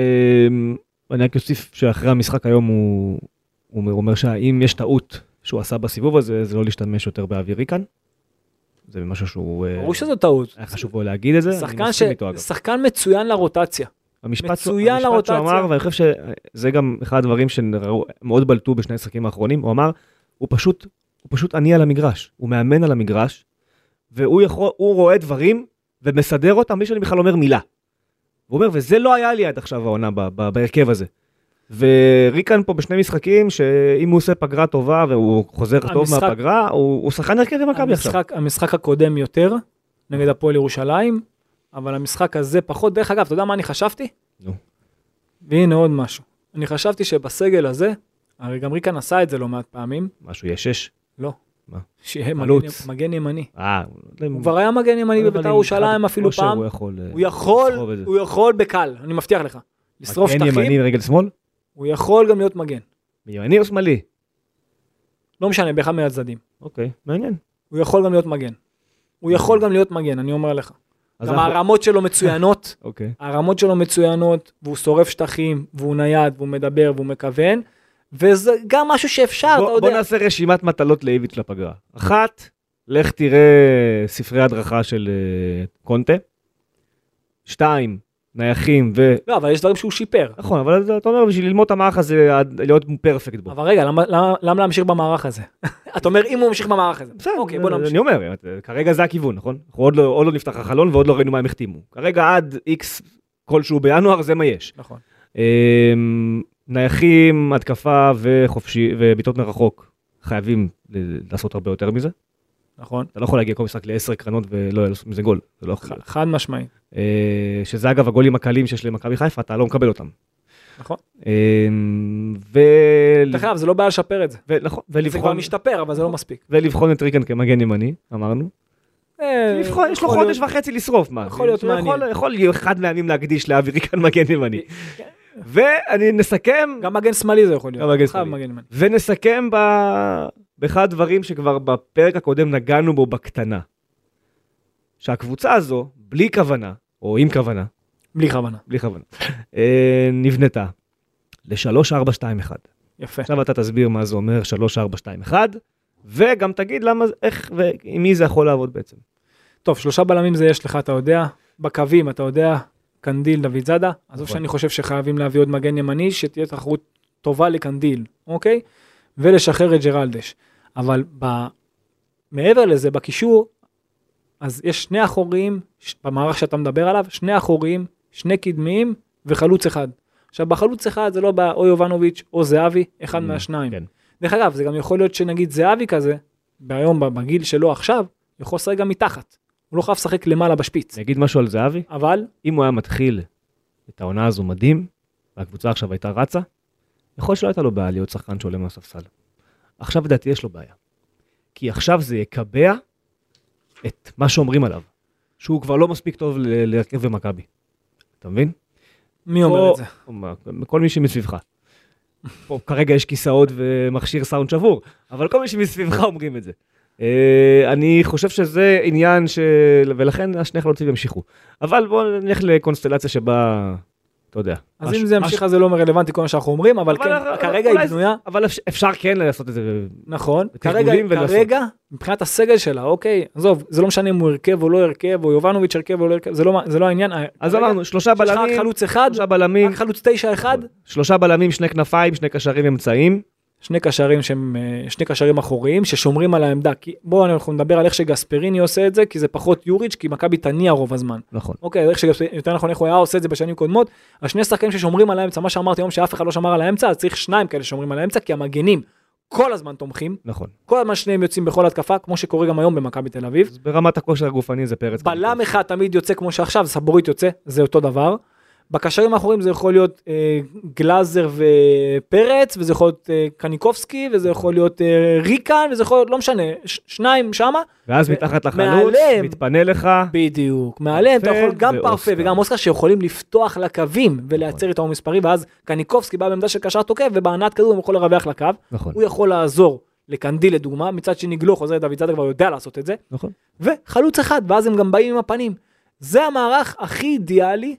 B: אה, רק אוסיף שאחרי המשחק היום הוא, הוא אומר- אומר שהאם יש טעות שהוא עשה בסיבוב הזה, זה לא להשתמש יותר באווירי כאן. זה משהו שהוא... אה,
C: ברור שזו טעות.
B: היה חשוב לו להגיד את זה, אני
C: שחקן, ש...
B: מסכים איתו אגב.
C: שחקן מצוין לרוטציה.
B: המשפט, שהוא-
C: מצוין
B: המשפט שהוא
C: לרוטציה.
B: אמר, ואני חושב שזה גם אחד הדברים שמאוד בלטו בשני המשחקים האחרונים, הוא אמר, הוא פשוט, הוא פשוט עני על המגרש, הוא מאמן על המגרש, והוא יכול, הוא רואה דברים ומסדר אותם בלי שאני בכלל אומר מילה. הוא אומר, וזה לא היה לי עד עכשיו העונה ב- ב- בהרכב הזה. וריקן פה בשני משחקים, שאם הוא עושה פגרה טובה והוא חוזר טוב
C: המשחק-
B: מהפגרה, הוא, הוא שחקן הרכב במכבי עכשיו.
C: המשחק, המשחק הקודם יותר, נגד הפועל ירושלים, אבל המשחק הזה פחות. דרך אגב, אתה יודע מה אני חשבתי?
B: נו.
C: והנה עוד משהו. אני חשבתי שבסגל הזה, הרי גם ריקן עשה את זה לא מעט פעמים,
B: משהו יש שש.
C: לא.
B: מה?
C: שיהיה מגן,
B: חלוץ.
C: מגן ימני.
B: אה,
C: הוא כבר היה מגן ימני בבית"ר ירושלים אפילו פעם.
B: הוא יכול, אה,
C: הוא יכול,
B: לסחוב את זה.
C: הוא יכול בקל, אני מבטיח לך. לשרוף
B: אה, מגן
C: שטחים,
B: ימני ורגל שמאל?
C: הוא יכול גם להיות מגן.
B: ימני או שמאלי?
C: לא משנה, באחד מהצדדים.
B: אוקיי, מעניין.
C: הוא יכול גם להיות מגן. הוא יכול גם להיות מגן, אני אומר לך.
B: אז
C: גם
B: אנחנו-
C: הרמות שלו מצוינות,
B: אוקיי.
C: הרמות שלו מצוינות, והוא שורף שטחים, והוא נייד, והוא מדבר, והוא מכוון, וזה גם משהו שאפשר,
B: בוא-
C: אתה
B: בוא
C: יודע.
B: נעשה רשימת מטלות לאיביץ' לפגרה. אחת, לך תראה ספרי הדרכה של אה, קונטה. שתיים, נייחים ו...
C: לא, אבל יש דברים שהוא שיפר.
B: נכון, אבל זה- אתה אומר, בשביל ללמוד את המערך הזה, עד- להיות פרפקט בו.
C: אבל רגע, למה- למה למה להמשיך במערך הזה? אתה אומר, אם הוא ממשיך במערך הזה.
B: בסדר,
C: אוקיי, בוא נמשיך.
B: אני אומר, אה, כרגע זה הכיוון, נכון? אנחנו עוד לא, עוד לא נפתח החלון ועוד לא ראינו מה הם החתימו. כרגע עד איקס כלשהו בינואר, זה מה יש.
C: נכון.
B: אמ, נייחים, התקפה וחופשי, ובעיטות מרחוק, חייבים ל- לעשות הרבה יותר מזה.
C: נכון.
B: אתה לא יכול להגיע כל משחק לעשר קרנות ולא לעשות מזה גול, זה לא יכול להיות.
C: ח- חד משמעי.
B: אה, שזה אגב הגולים הקלים שיש למכבי חיפה, אתה לא מקבל אותם.
C: נכון.
B: אמ, ו...
C: דרך אגב, זה לא בעיה לשפר את זה.
B: ו- נכון,
C: זה כבר
B: ולבחון,
C: משתפר, אבל זה לא מספיק.
B: ולבחון את ריקן כמגן ימני, אמרנו.
C: אה,
B: לבחון, יש לו
C: יכול
B: חודש
C: להיות.
B: וחצי לשרוף, מה?
C: יכול להיות
B: שהוא יכול-
C: מעניין.
B: יכול להיות אחד מהימים להקדיש לאווירי כאן מגן ימני.
C: כן.
B: ואני נסכם,
C: גם מגן שמאלי זה יכול להיות.
B: גם מגן
C: חייב
B: שמאלי.
C: מגן ימני.
B: ונסכם ב- באחד הדברים שכבר בפרק הקודם נגענו בו בקטנה. שהקבוצה הזו, בלי כוונה, או עם כוונה,
C: בלי כוונה.
B: בלי כוונה, אה, נבנתה ל-3-4-2-1.
C: יפה.
B: עכשיו אתה תסביר מה זה אומר 3-4-2-1, וגם תגיד למה, זה- איך ועם מי זה יכול לעבוד בעצם.
C: טוב, שלושה בלמים זה יש לך, אתה יודע. בקווים, אתה יודע, קנדיל, דוד זאדה.
B: נכון.
C: עזוב שאני חושב שחייבים להביא עוד מגן ימני, שתהיה תחרות טובה לקנדיל, אוקיי? ולשחרר את ג'רלדש. אבל ב... מעבר לזה, בקישור, אז יש שני אחוריים, ש- במערך שאתה מדבר עליו, שני אחוריים, שני קדמיים וחלוץ אחד. עכשיו, בחלוץ אחד זה לא בא או יובנוביץ' או זהבי, אחד
B: Mm,
C: מהשניים.
B: כן.
C: דרך אגב, זה גם יכול להיות שנגיד זהבי כזה, היום בגיל שלו עכשיו, יכול לשחק גם מתחת. הוא לא חייב לשחק למעלה בשפיץ.
B: נגיד משהו על זהבי?
C: אבל,
B: אם הוא היה מתחיל את העונה הזו מדהים, והקבוצה עכשיו הייתה רצה, יכול שלא הייתה לו בעיה להיות שחקן שעולה מהספסל. עכשיו לדעתי יש לו בעיה. כי עכשיו זה יקבע את מה שאומרים עליו, שהוא כבר לא מספיק טוב ל- להרכב במכבי. אתה מבין?
C: מי אומר
B: פה-
C: את זה?
B: מה- כל מי שמסביבך. פה כרגע יש כיסאות ומכשיר סאונד שבור, אבל כל מי שמסביבך אומרים את זה. אה, אני חושב שזה עניין של... ולכן השני חלוצים ימשיכו. אבל בואו נלך לקונסטלציה שבה, אתה יודע.
C: אז
B: הש-
C: אם זה ימשיך,
B: הש-
C: אז זה לא רלוונטי כל מה שאנחנו אומרים, אבל
B: אבל
C: כן,
B: אנחנו-
C: כרגע
B: אולי
C: היא
B: זה-
C: בנויה,
B: אבל אפשר- אפשר כן לעשות את זה.
C: נכון,
B: בתרגולים
C: כרגע,
B: ולעשות.
C: כרגע, מבחינת הסגל שלה, אוקיי, עזוב, זה לא משנה אם הוא הרכב או לא הרכב, או יובנוביץ' הרכב או לא הרכב, זה לא, מה- זה לא העניין.
B: אז
C: כרגע
B: אמרנו, שלושה
C: יש לך רק
B: בלמים,
C: חלוץ אחד,
B: שלושה בלמים,
C: רק חלוץ תשע אחד,
B: שלושה בלמים, שני כנפיים, שני קשרים אמצעיים.
C: שני קשרים שהם, אה, שני קשרים אחוריים ששומרים על העמדה, כי בואו אנחנו נדבר על איך שגספריני עושה את זה, כי זה פחות יוריץ', כי מכבי תניע רוב הזמן.
B: נכון.
C: אוקיי, איך שגספריני, יותר נכון איך הוא היה עושה את זה בשנים קודמות, השני שחקנים ששומרים על האמצע, מה שאמרתי היום שאף אחד לא שמר על האמצע, אז צריך שניים כאלה ששומרים על האמצע, כי המגנים כל הזמן תומכים,
B: נכון.
C: כל הזמן שניהם יוצאים בכל התקפה, כמו שקורה גם היום במכבי תל אביב.
B: אז ברמת הכושר הגופני זה פרץ.
C: בלם אחד תמיד יוצא כמו שעכשיו, סבורית יוצא, זה אותו דבר. בקשרים האחוריים זה יכול להיות אה, גלאזר ופרץ, וזה יכול להיות אה, קניקובסקי, וזה יכול להיות אה, ריקן, וזה יכול להיות, לא משנה, ש- שניים שמה.
B: ואז
C: ו-
B: מתחת לחלוץ,
C: מעליהם.
B: מתפנה לך.
C: בדיוק. מעליהם אתה יכול גם
B: ואוסקר.
C: פרפה וגם אוסקר שיכולים לפתוח לקווים ולייצר איתם מספרי, ואז קניקובסקי בא בעמדה של קשר תוקף, ובהנעת כדור הוא יכול לרווח לקו.
B: נכון.
C: הוא יכול לעזור לקנדיל לדוגמה, מצד שני גלו חוזר לדוד זאדה כבר יודע לעשות את זה.
B: נכון.
C: וחלוץ אחד, ואז הם גם באים עם הפנים. זה המערך הכי אידיאלי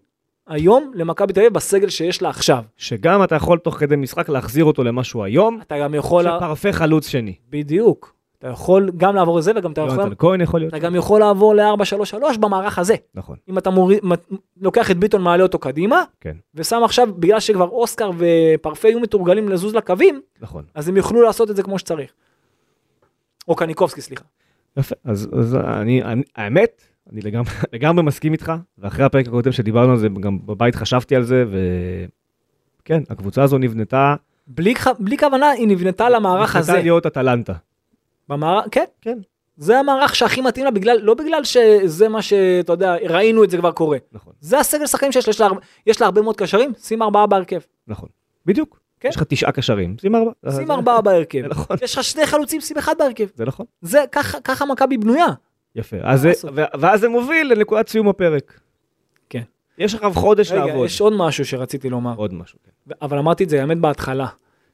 C: היום למכבי תל אביב בסגל שיש לה עכשיו.
B: שגם אתה יכול תוך כדי משחק להחזיר אותו למה שהוא היום,
C: אתה גם יכול... לה...
B: שפרפה חלוץ שני.
C: בדיוק. אתה יכול גם לעבור לזה וגם אתה יכול...
B: יונתן כהן יכול להיות.
C: אתה גם יכול לעבור ל-4-3-3 במערך הזה.
B: נכון.
C: אם אתה מוריד, מ- לוקח את ביטון, מעלה אותו קדימה,
B: כן.
C: ושם עכשיו, בגלל שכבר אוסקר ופרפה יהיו מתורגלים לזוז לקווים,
B: נכון.
C: אז הם יוכלו לעשות את זה כמו שצריך. או קניקובסקי, סליחה.
B: יפה. אז אז אני, אני- האמת, אני לגמרי- לגמרי מסכים איתך, ואחרי הפרק הקודם שדיברנו על זה, גם בבית חשבתי על זה, וכן, הקבוצה הזו נבנתה,
C: בלי, כ- בלי כוונה, היא נבנתה למערך הזה.
B: נבנתה להיות אטלנטה.
C: במערך, כן.
B: כן.
C: זה המערך שהכי מתאים לה, בגלל, לא בגלל שזה מה שאתה יודע, ראינו את זה כבר קורה.
B: נכון.
C: זה הסגל שחקנים שיש לה, יש לה, הרבה- יש לה הרבה מאוד קשרים, שים ארבעה בהרכב.
B: נכון. בדיוק.
C: כן.
B: יש לך תשעה קשרים, שים ארבע.
C: שים
B: אה, זה-
C: ארבעה בהרכב.
B: זה נכון.
C: יש לך שני חלוצים, שים אחד בהרכב.
B: זה נכון.
C: זה, ככה, ככה מכבי בנויה.
B: יפה. אז זה-
C: לעשות?
B: ו- ואז זה מוביל לנקודת סיום הפרק.
C: כן.
B: יש אחריו חודש
C: רגע,
B: לעבוד.
C: יש עוד משהו שרציתי לומר,
B: עוד משהו. כן.
C: ו- אבל אמרתי את זה האמת בהתחלה.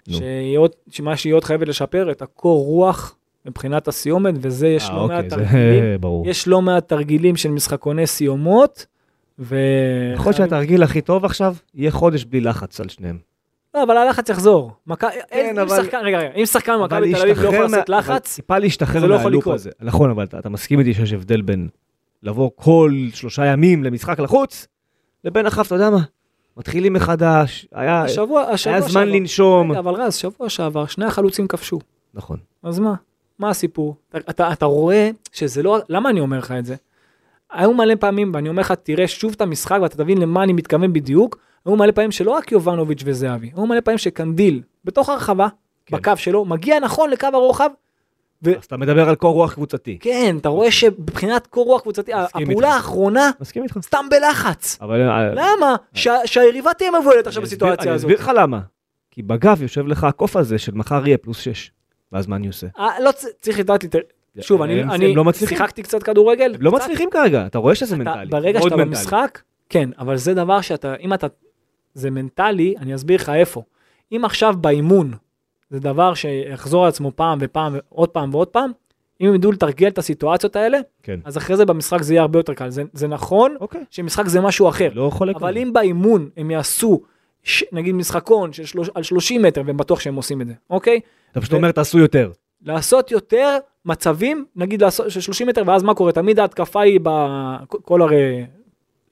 B: נו.
C: שהיא עוד- שמה שהיא עוד חייבת לשפר, את הקור רוח מבחינת הסיומת, וזה יש
B: אה,
C: לא מעט
B: אוקיי,
C: תרגילים.
B: זה ברור.
C: יש לא מעט תרגילים של משחקוני סיומות, ו...
B: יכול להיות שהתרגיל הכי טוב עכשיו יהיה חודש בלי לחץ על שניהם.
C: לא, אבל הלחץ יחזור. מכ... אין,
B: כן, אבל-
C: אם שחקן, רגע, רגע, אם שחקן
B: אבל
C: מכבי תל אביב לא
B: להשתחרר
C: יכול
B: מה-
C: לעשות
B: אבל
C: לחץ,
B: טיפה
C: זה
B: להשתחרר
C: לא יכול
B: מהלופ
C: לקרות.
B: הזה. נכון, אבל אתה אתה מסכים איתי שיש הבדל בין לבוא כל שלושה ימים למשחק לחוץ, לבין אחריו, אתה יודע מה, מתחילים מחדש, היה
C: השבוע, השבוע
B: היה זמן
C: שעבר-
B: לנשום.
C: רגע, אבל רז, שבוע שעבר, שני החלוצים כבשו.
B: נכון.
C: אז מה? מה הסיפור? אתה, אתה, אתה רואה שזה לא... למה אני אומר לך את זה? היו מלא פעמים, ואני אומר לך, תראה שוב את המשחק ואתה תבין למה אני מתכוון בדיוק, היו מלא פעמים שלא רק יובנוביץ' וזהבי, היו מלא פעמים שקנדיל, בתוך הרחבה,
B: כן.
C: בקו שלו, מגיע נכון לקו הרוחב,
B: אז אתה מדבר על קור רוח קבוצתי.
C: כן, אתה רואה שמבחינת קור רוח קבוצתי,
B: מסכים
C: הפעולה
B: איתך.
C: האחרונה,
B: מסכים איתך.
C: סתם בלחץ.
B: אבל... אה,
C: למה? שה- שהיריבה תהיה מבוהלת עכשיו
B: אני אסביר-
C: בסיטואציה
B: אני
C: הזאת.
B: אסביר לך למה. כי בגב יושב לך הקוף הזה של מחר יהיה פלוס 6. ואז מה אני עושה?
C: אה, לא צ- צריך לדעת, יותר. שוב, אני-
B: הם-
C: אני
B: הם לא מצליחים.
C: שיחקתי קצת כדורגל.
B: הם לא
C: קצת.
B: מצליחים כרגע, אתה רואה שזה
C: אתה-
B: מנטלי.
C: ברגע
B: מאוד
C: שאתה
B: מנטלי.
C: במשחק, כן, אבל זה דבר שאתה, אם אתה, זה מנטלי, אני אסביר לך איפה. אם עכשיו באימון, זה דבר שיחזור על עצמו פעם ופעם, עוד פעם ועוד פעם, אם הם ידעו לתרגל את הסיטואציות האלה,
B: כן.
C: אז אחרי זה במשחק זה יהיה הרבה יותר קל. זה- זה נכון
B: אוקיי.
C: שמשחק זה משהו אחר.
B: לא חולק. על
C: אבל
B: זה.
C: אם באימון הם יעשו, ש- נגיד משחקון של שלוש, על 30 מטר, והם בטוח שהם עושים את זה, אוקיי?
B: אתה פשוט אומר תעשו יותר.
C: לעשות יותר מצבים, נגיד לעשות של 30 מטר, ואז מה קורה? תמיד ההתקפה היא בכל הרי...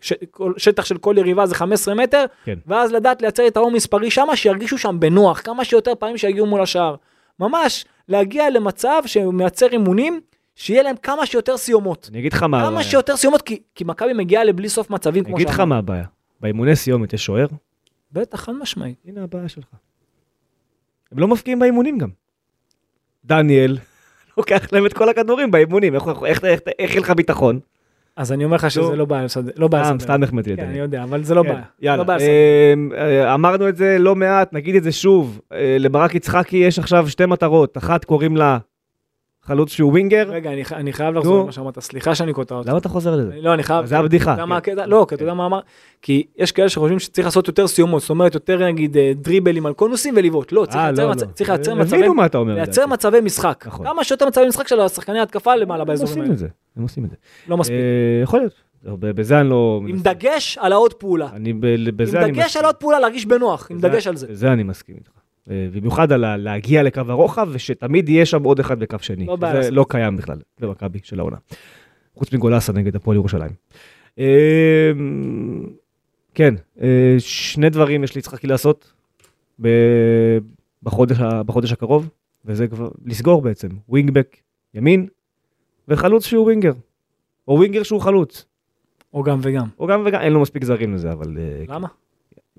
C: ש, כל, שטח של כל יריבה זה 15 מטר,
B: כן.
C: ואז לדעת לייצר את ההוא מספרי שמה, שירגישו שם בנוח, כמה שיותר פעמים שיגיעו מול השער. ממש, להגיע למצב שמייצר אימונים, שיהיה להם כמה שיותר סיומות.
B: אני אגיד לך מה
C: כמה
B: הבעיה.
C: שיותר סיומות, כי, כי מכבי מגיעה לבלי סוף מצבים,
B: אני
C: כמו
B: אגיד לך מה הבעיה. באימוני סיומת יש שוער?
C: בטח, חד משמעית.
B: הנה הבעיה שלך. הם לא מפקיעים באימונים גם. דניאל לוקח להם את כל הכדורים באימונים, איך- איך- איך- איך- איך יהיה לך ביטחון?
C: אז אני אומר לך שזה
B: לא.
C: לא בעיה, לסדר- לא בעיה.
B: סתם,
C: לסדר.
B: סתם החמאתי
C: כן, אני
B: לדניאל.
C: יודע, אבל זה לא
B: כן,
C: בעיה.
B: יאללה,
C: לא בעיה. לסדר.
B: אמ, אה, אמרנו את זה לא מעט, נגיד את זה שוב. אה, לברק יצחקי יש עכשיו שתי מטרות, אחת קוראים לה חלוץ שהוא ווינגר.
C: רגע, אני ח- אני חייב לחזור
B: נו.
C: למה שאמרת, סליחה שאני קוטע אותך.
B: למה אתה חוזר לזה?
C: אני- לא, אני חייב...
B: זה הבדיחה.
C: אתה יודע מה
B: כן.
C: הקטע? לא, כי אתה יודע מה אמר? כי יש כאלה שחושבים שצריך לעשות יותר סיומות, זאת אומרת יותר נגיד אה, דריבלים על קונוסים ולבעוט. לא, צריך
B: אה,
C: לייצר
B: לא,
C: מצ-
B: לא.
C: צריך לייצר מצבי...
B: הבינו מה אתה אומר.
C: לייצר
B: לדעתי.
C: מצבי משחק.
B: נכון.
C: כמה שיותר מצבי משחק של השחקני התקפה למעלה
B: הם
C: באזורים
B: עושים
C: האלה.
B: את זה, הם עושים את זה.
C: לא מספיק.
B: אה, יכול להיות. לא, ב- בזה אני לא...
C: עם
B: מנסה.
C: דגש על העוד פעולה.
B: אני ב-
C: עם
B: בזה אני
C: דגש על עוד פעולה, להרגיש בנוח. עם
B: בזה-
C: דגש על זה.
B: בזה אני מסכים איתך. אה, במיוחד על ה- להגיע לקו הרוחב, ושתמיד יהיה שם עוד אחד בקו שני.
C: לא בעיה
B: זה
C: לעשות
B: לא קיים בכלל במכבי של העונה. חוץ מגולסה נגד הפועל ירושלים. אה, כן, אה, שני דברים יש ליצחקי לעשות ב- בחודש ה- בחודש הקרוב, וזה כבר לסגור בעצם, ווינגבק ימין, וחלוץ שהוא ווינגר. או ווינגר שהוא חלוץ.
C: או גם וגם.
B: או גם וגם, אין לו מספיק זרים לזה, אבל... אה,
C: למה?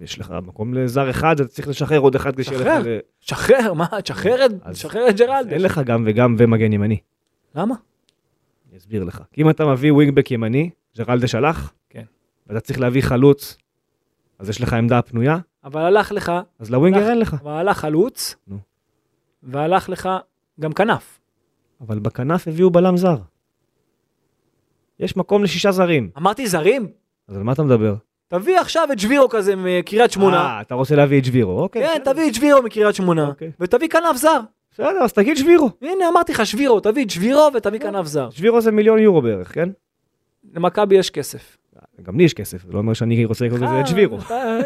B: יש לך מקום לזר אחד, אתה צריך לשחרר עוד אחד כדי שיהיה לך...
C: שחרר.
B: ל-
C: שחרר, מה? תשחרר את-
B: אז-
C: תשחרר את ג'רלדש.
B: אין לך גם וגם ומגן ימני.
C: למה?
B: אני אסביר לך. כי אם אתה מביא ווינגבק ימני, ג'רלדה שלח,
C: כן.
B: ואתה צריך להביא חלוץ, אז יש לך עמדה פנויה,
C: אבל הלך לך,
B: אז לווינגר
C: הלך.
B: אין לך.
C: אבל הלך חלוץ,
B: נו.
C: והלך לך גם כנף.
B: אבל בכנף הביאו בלם זר. יש מקום לשישה זרים.
C: אמרתי זרים?
B: אז על מה אתה מדבר?
C: תביא עכשיו את שבירו כזה מקריית שמונה.
B: אה, אתה רוצה להביא את שבירו, אוקיי.
C: כן,
B: בסדר.
C: תביא את שבירו מקריית שמונה,
B: אוקיי.
C: ותביא כנף זר.
B: בסדר, אז תגיד שבירו.
C: הנה, אמרתי לך, שבירו, תביא את שבירו ותביא
B: אה.
C: כנף זר.
B: שבירו זה מיליון יורו בערך, כן?
C: למכבי יש כסף.
B: גם לי יש כסף, זה לא אומר שאני רוצה לקנות את זה את
C: אה,
B: שבירו.
C: אתה-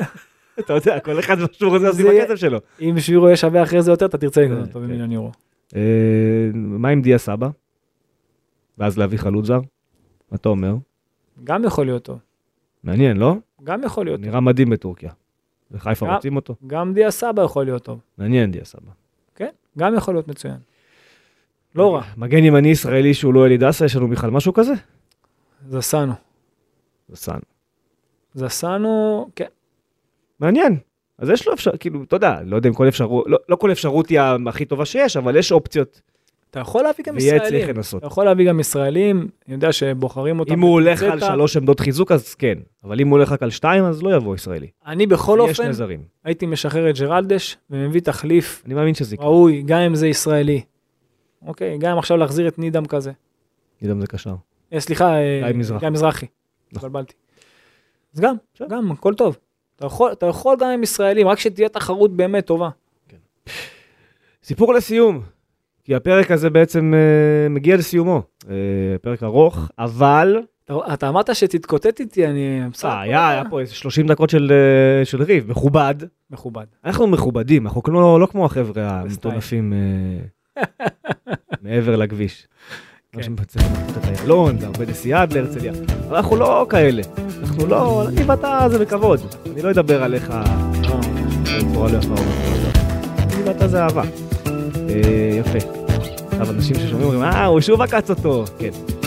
B: אתה יודע, כל אחד מה שהוא רוצה לעשות עם
C: זה-
B: הכסף שלו.
C: אם שבירו יהיה שווה אחרי זה יותר, אתה תרצה לקנות
B: כן,
C: אותו
B: כן.
C: במיליון יורו.
B: אה, מה עם דיה סבא? ואז להביא חלוץ זר? מה אתה אומר?
C: גם יכול להיות טוב.
B: מעניין, לא?
C: גם יכול להיות טוב.
B: נראה מדהים בטורקיה. וחיפה
C: גם-
B: רוצים אותו?
C: גם דיה סבא יכול להיות טוב. כן?
B: מעניין דיה סבא.
C: גם יכול להיות מצוין. לא רע,
B: מגן ימני ישראלי שהוא לא אלי דסה, יש לנו בכלל משהו כזה?
C: זסנו.
B: זסן.
C: זסנו, כן.
B: מעניין. אז יש לו אפשרות, כאילו, אתה יודע, לא יודע אם כל אפשרות, לא, לא כל אפשרות היא הכי טובה שיש, אבל יש אופציות.
C: אתה יכול להביא גם
B: ויהיה
C: ישראלים.
B: צריך לנסות.
C: אתה יכול להביא גם ישראלים, אני יודע שבוחרים אותם.
B: אם הוא הולך על
C: בקבוצטה.
B: שלוש עמדות חיזוק, אז כן. אבל אם הוא הולך רק על שתיים, אז לא יבוא ישראלי.
C: אני בכל
B: יש
C: אופן
B: שני זרים.
C: הייתי משחרר את ג'רלדש ומביא תחליף
B: אני מאמין שזה יקרה.
C: ראוי, גם אם זה ישראלי. אוקיי, גם אם עכשיו להחזיר את נידם כזה. אוקיי.
B: אני יודע אם זה קשר.
C: אה, סליחה, אה,
B: גיא מזרחי.
C: גיא מזרחי.
B: נכון.
C: התבלבלתי. אז גם, גם, הכל טוב. אתה יכול, אתה יכול גם עם ישראלים, רק שתהיה תחרות באמת טובה.
B: סיפור לסיום, כי הפרק הזה בעצם אה, מגיע לסיומו. אה, פרק ארוך, אבל...
C: אתה, אתה אמרת שתתקוטט איתי, אני... בסדר,
B: אה, היה, היה פה איזה 30 דקות של, אה, של ריב, מכובד.
C: מכובד.
B: אנחנו מכובדים, אנחנו לא, לא כמו החבר'ה המטונפים אה, מעבר לכביש.
C: כן.
B: שמצליח את איילון, זה הרבה נסיעה עד להרצליה. אבל אנחנו לא כאלה. אנחנו לא... אני ואתה זה בכבוד. אני לא אדבר עליך בצורה לא יפה. או לא. אני ואתה זה אהבה. אה, יפה. עכשיו אנשים ששומעים אומרים, אה, הוא שוב עקץ אותו. כן.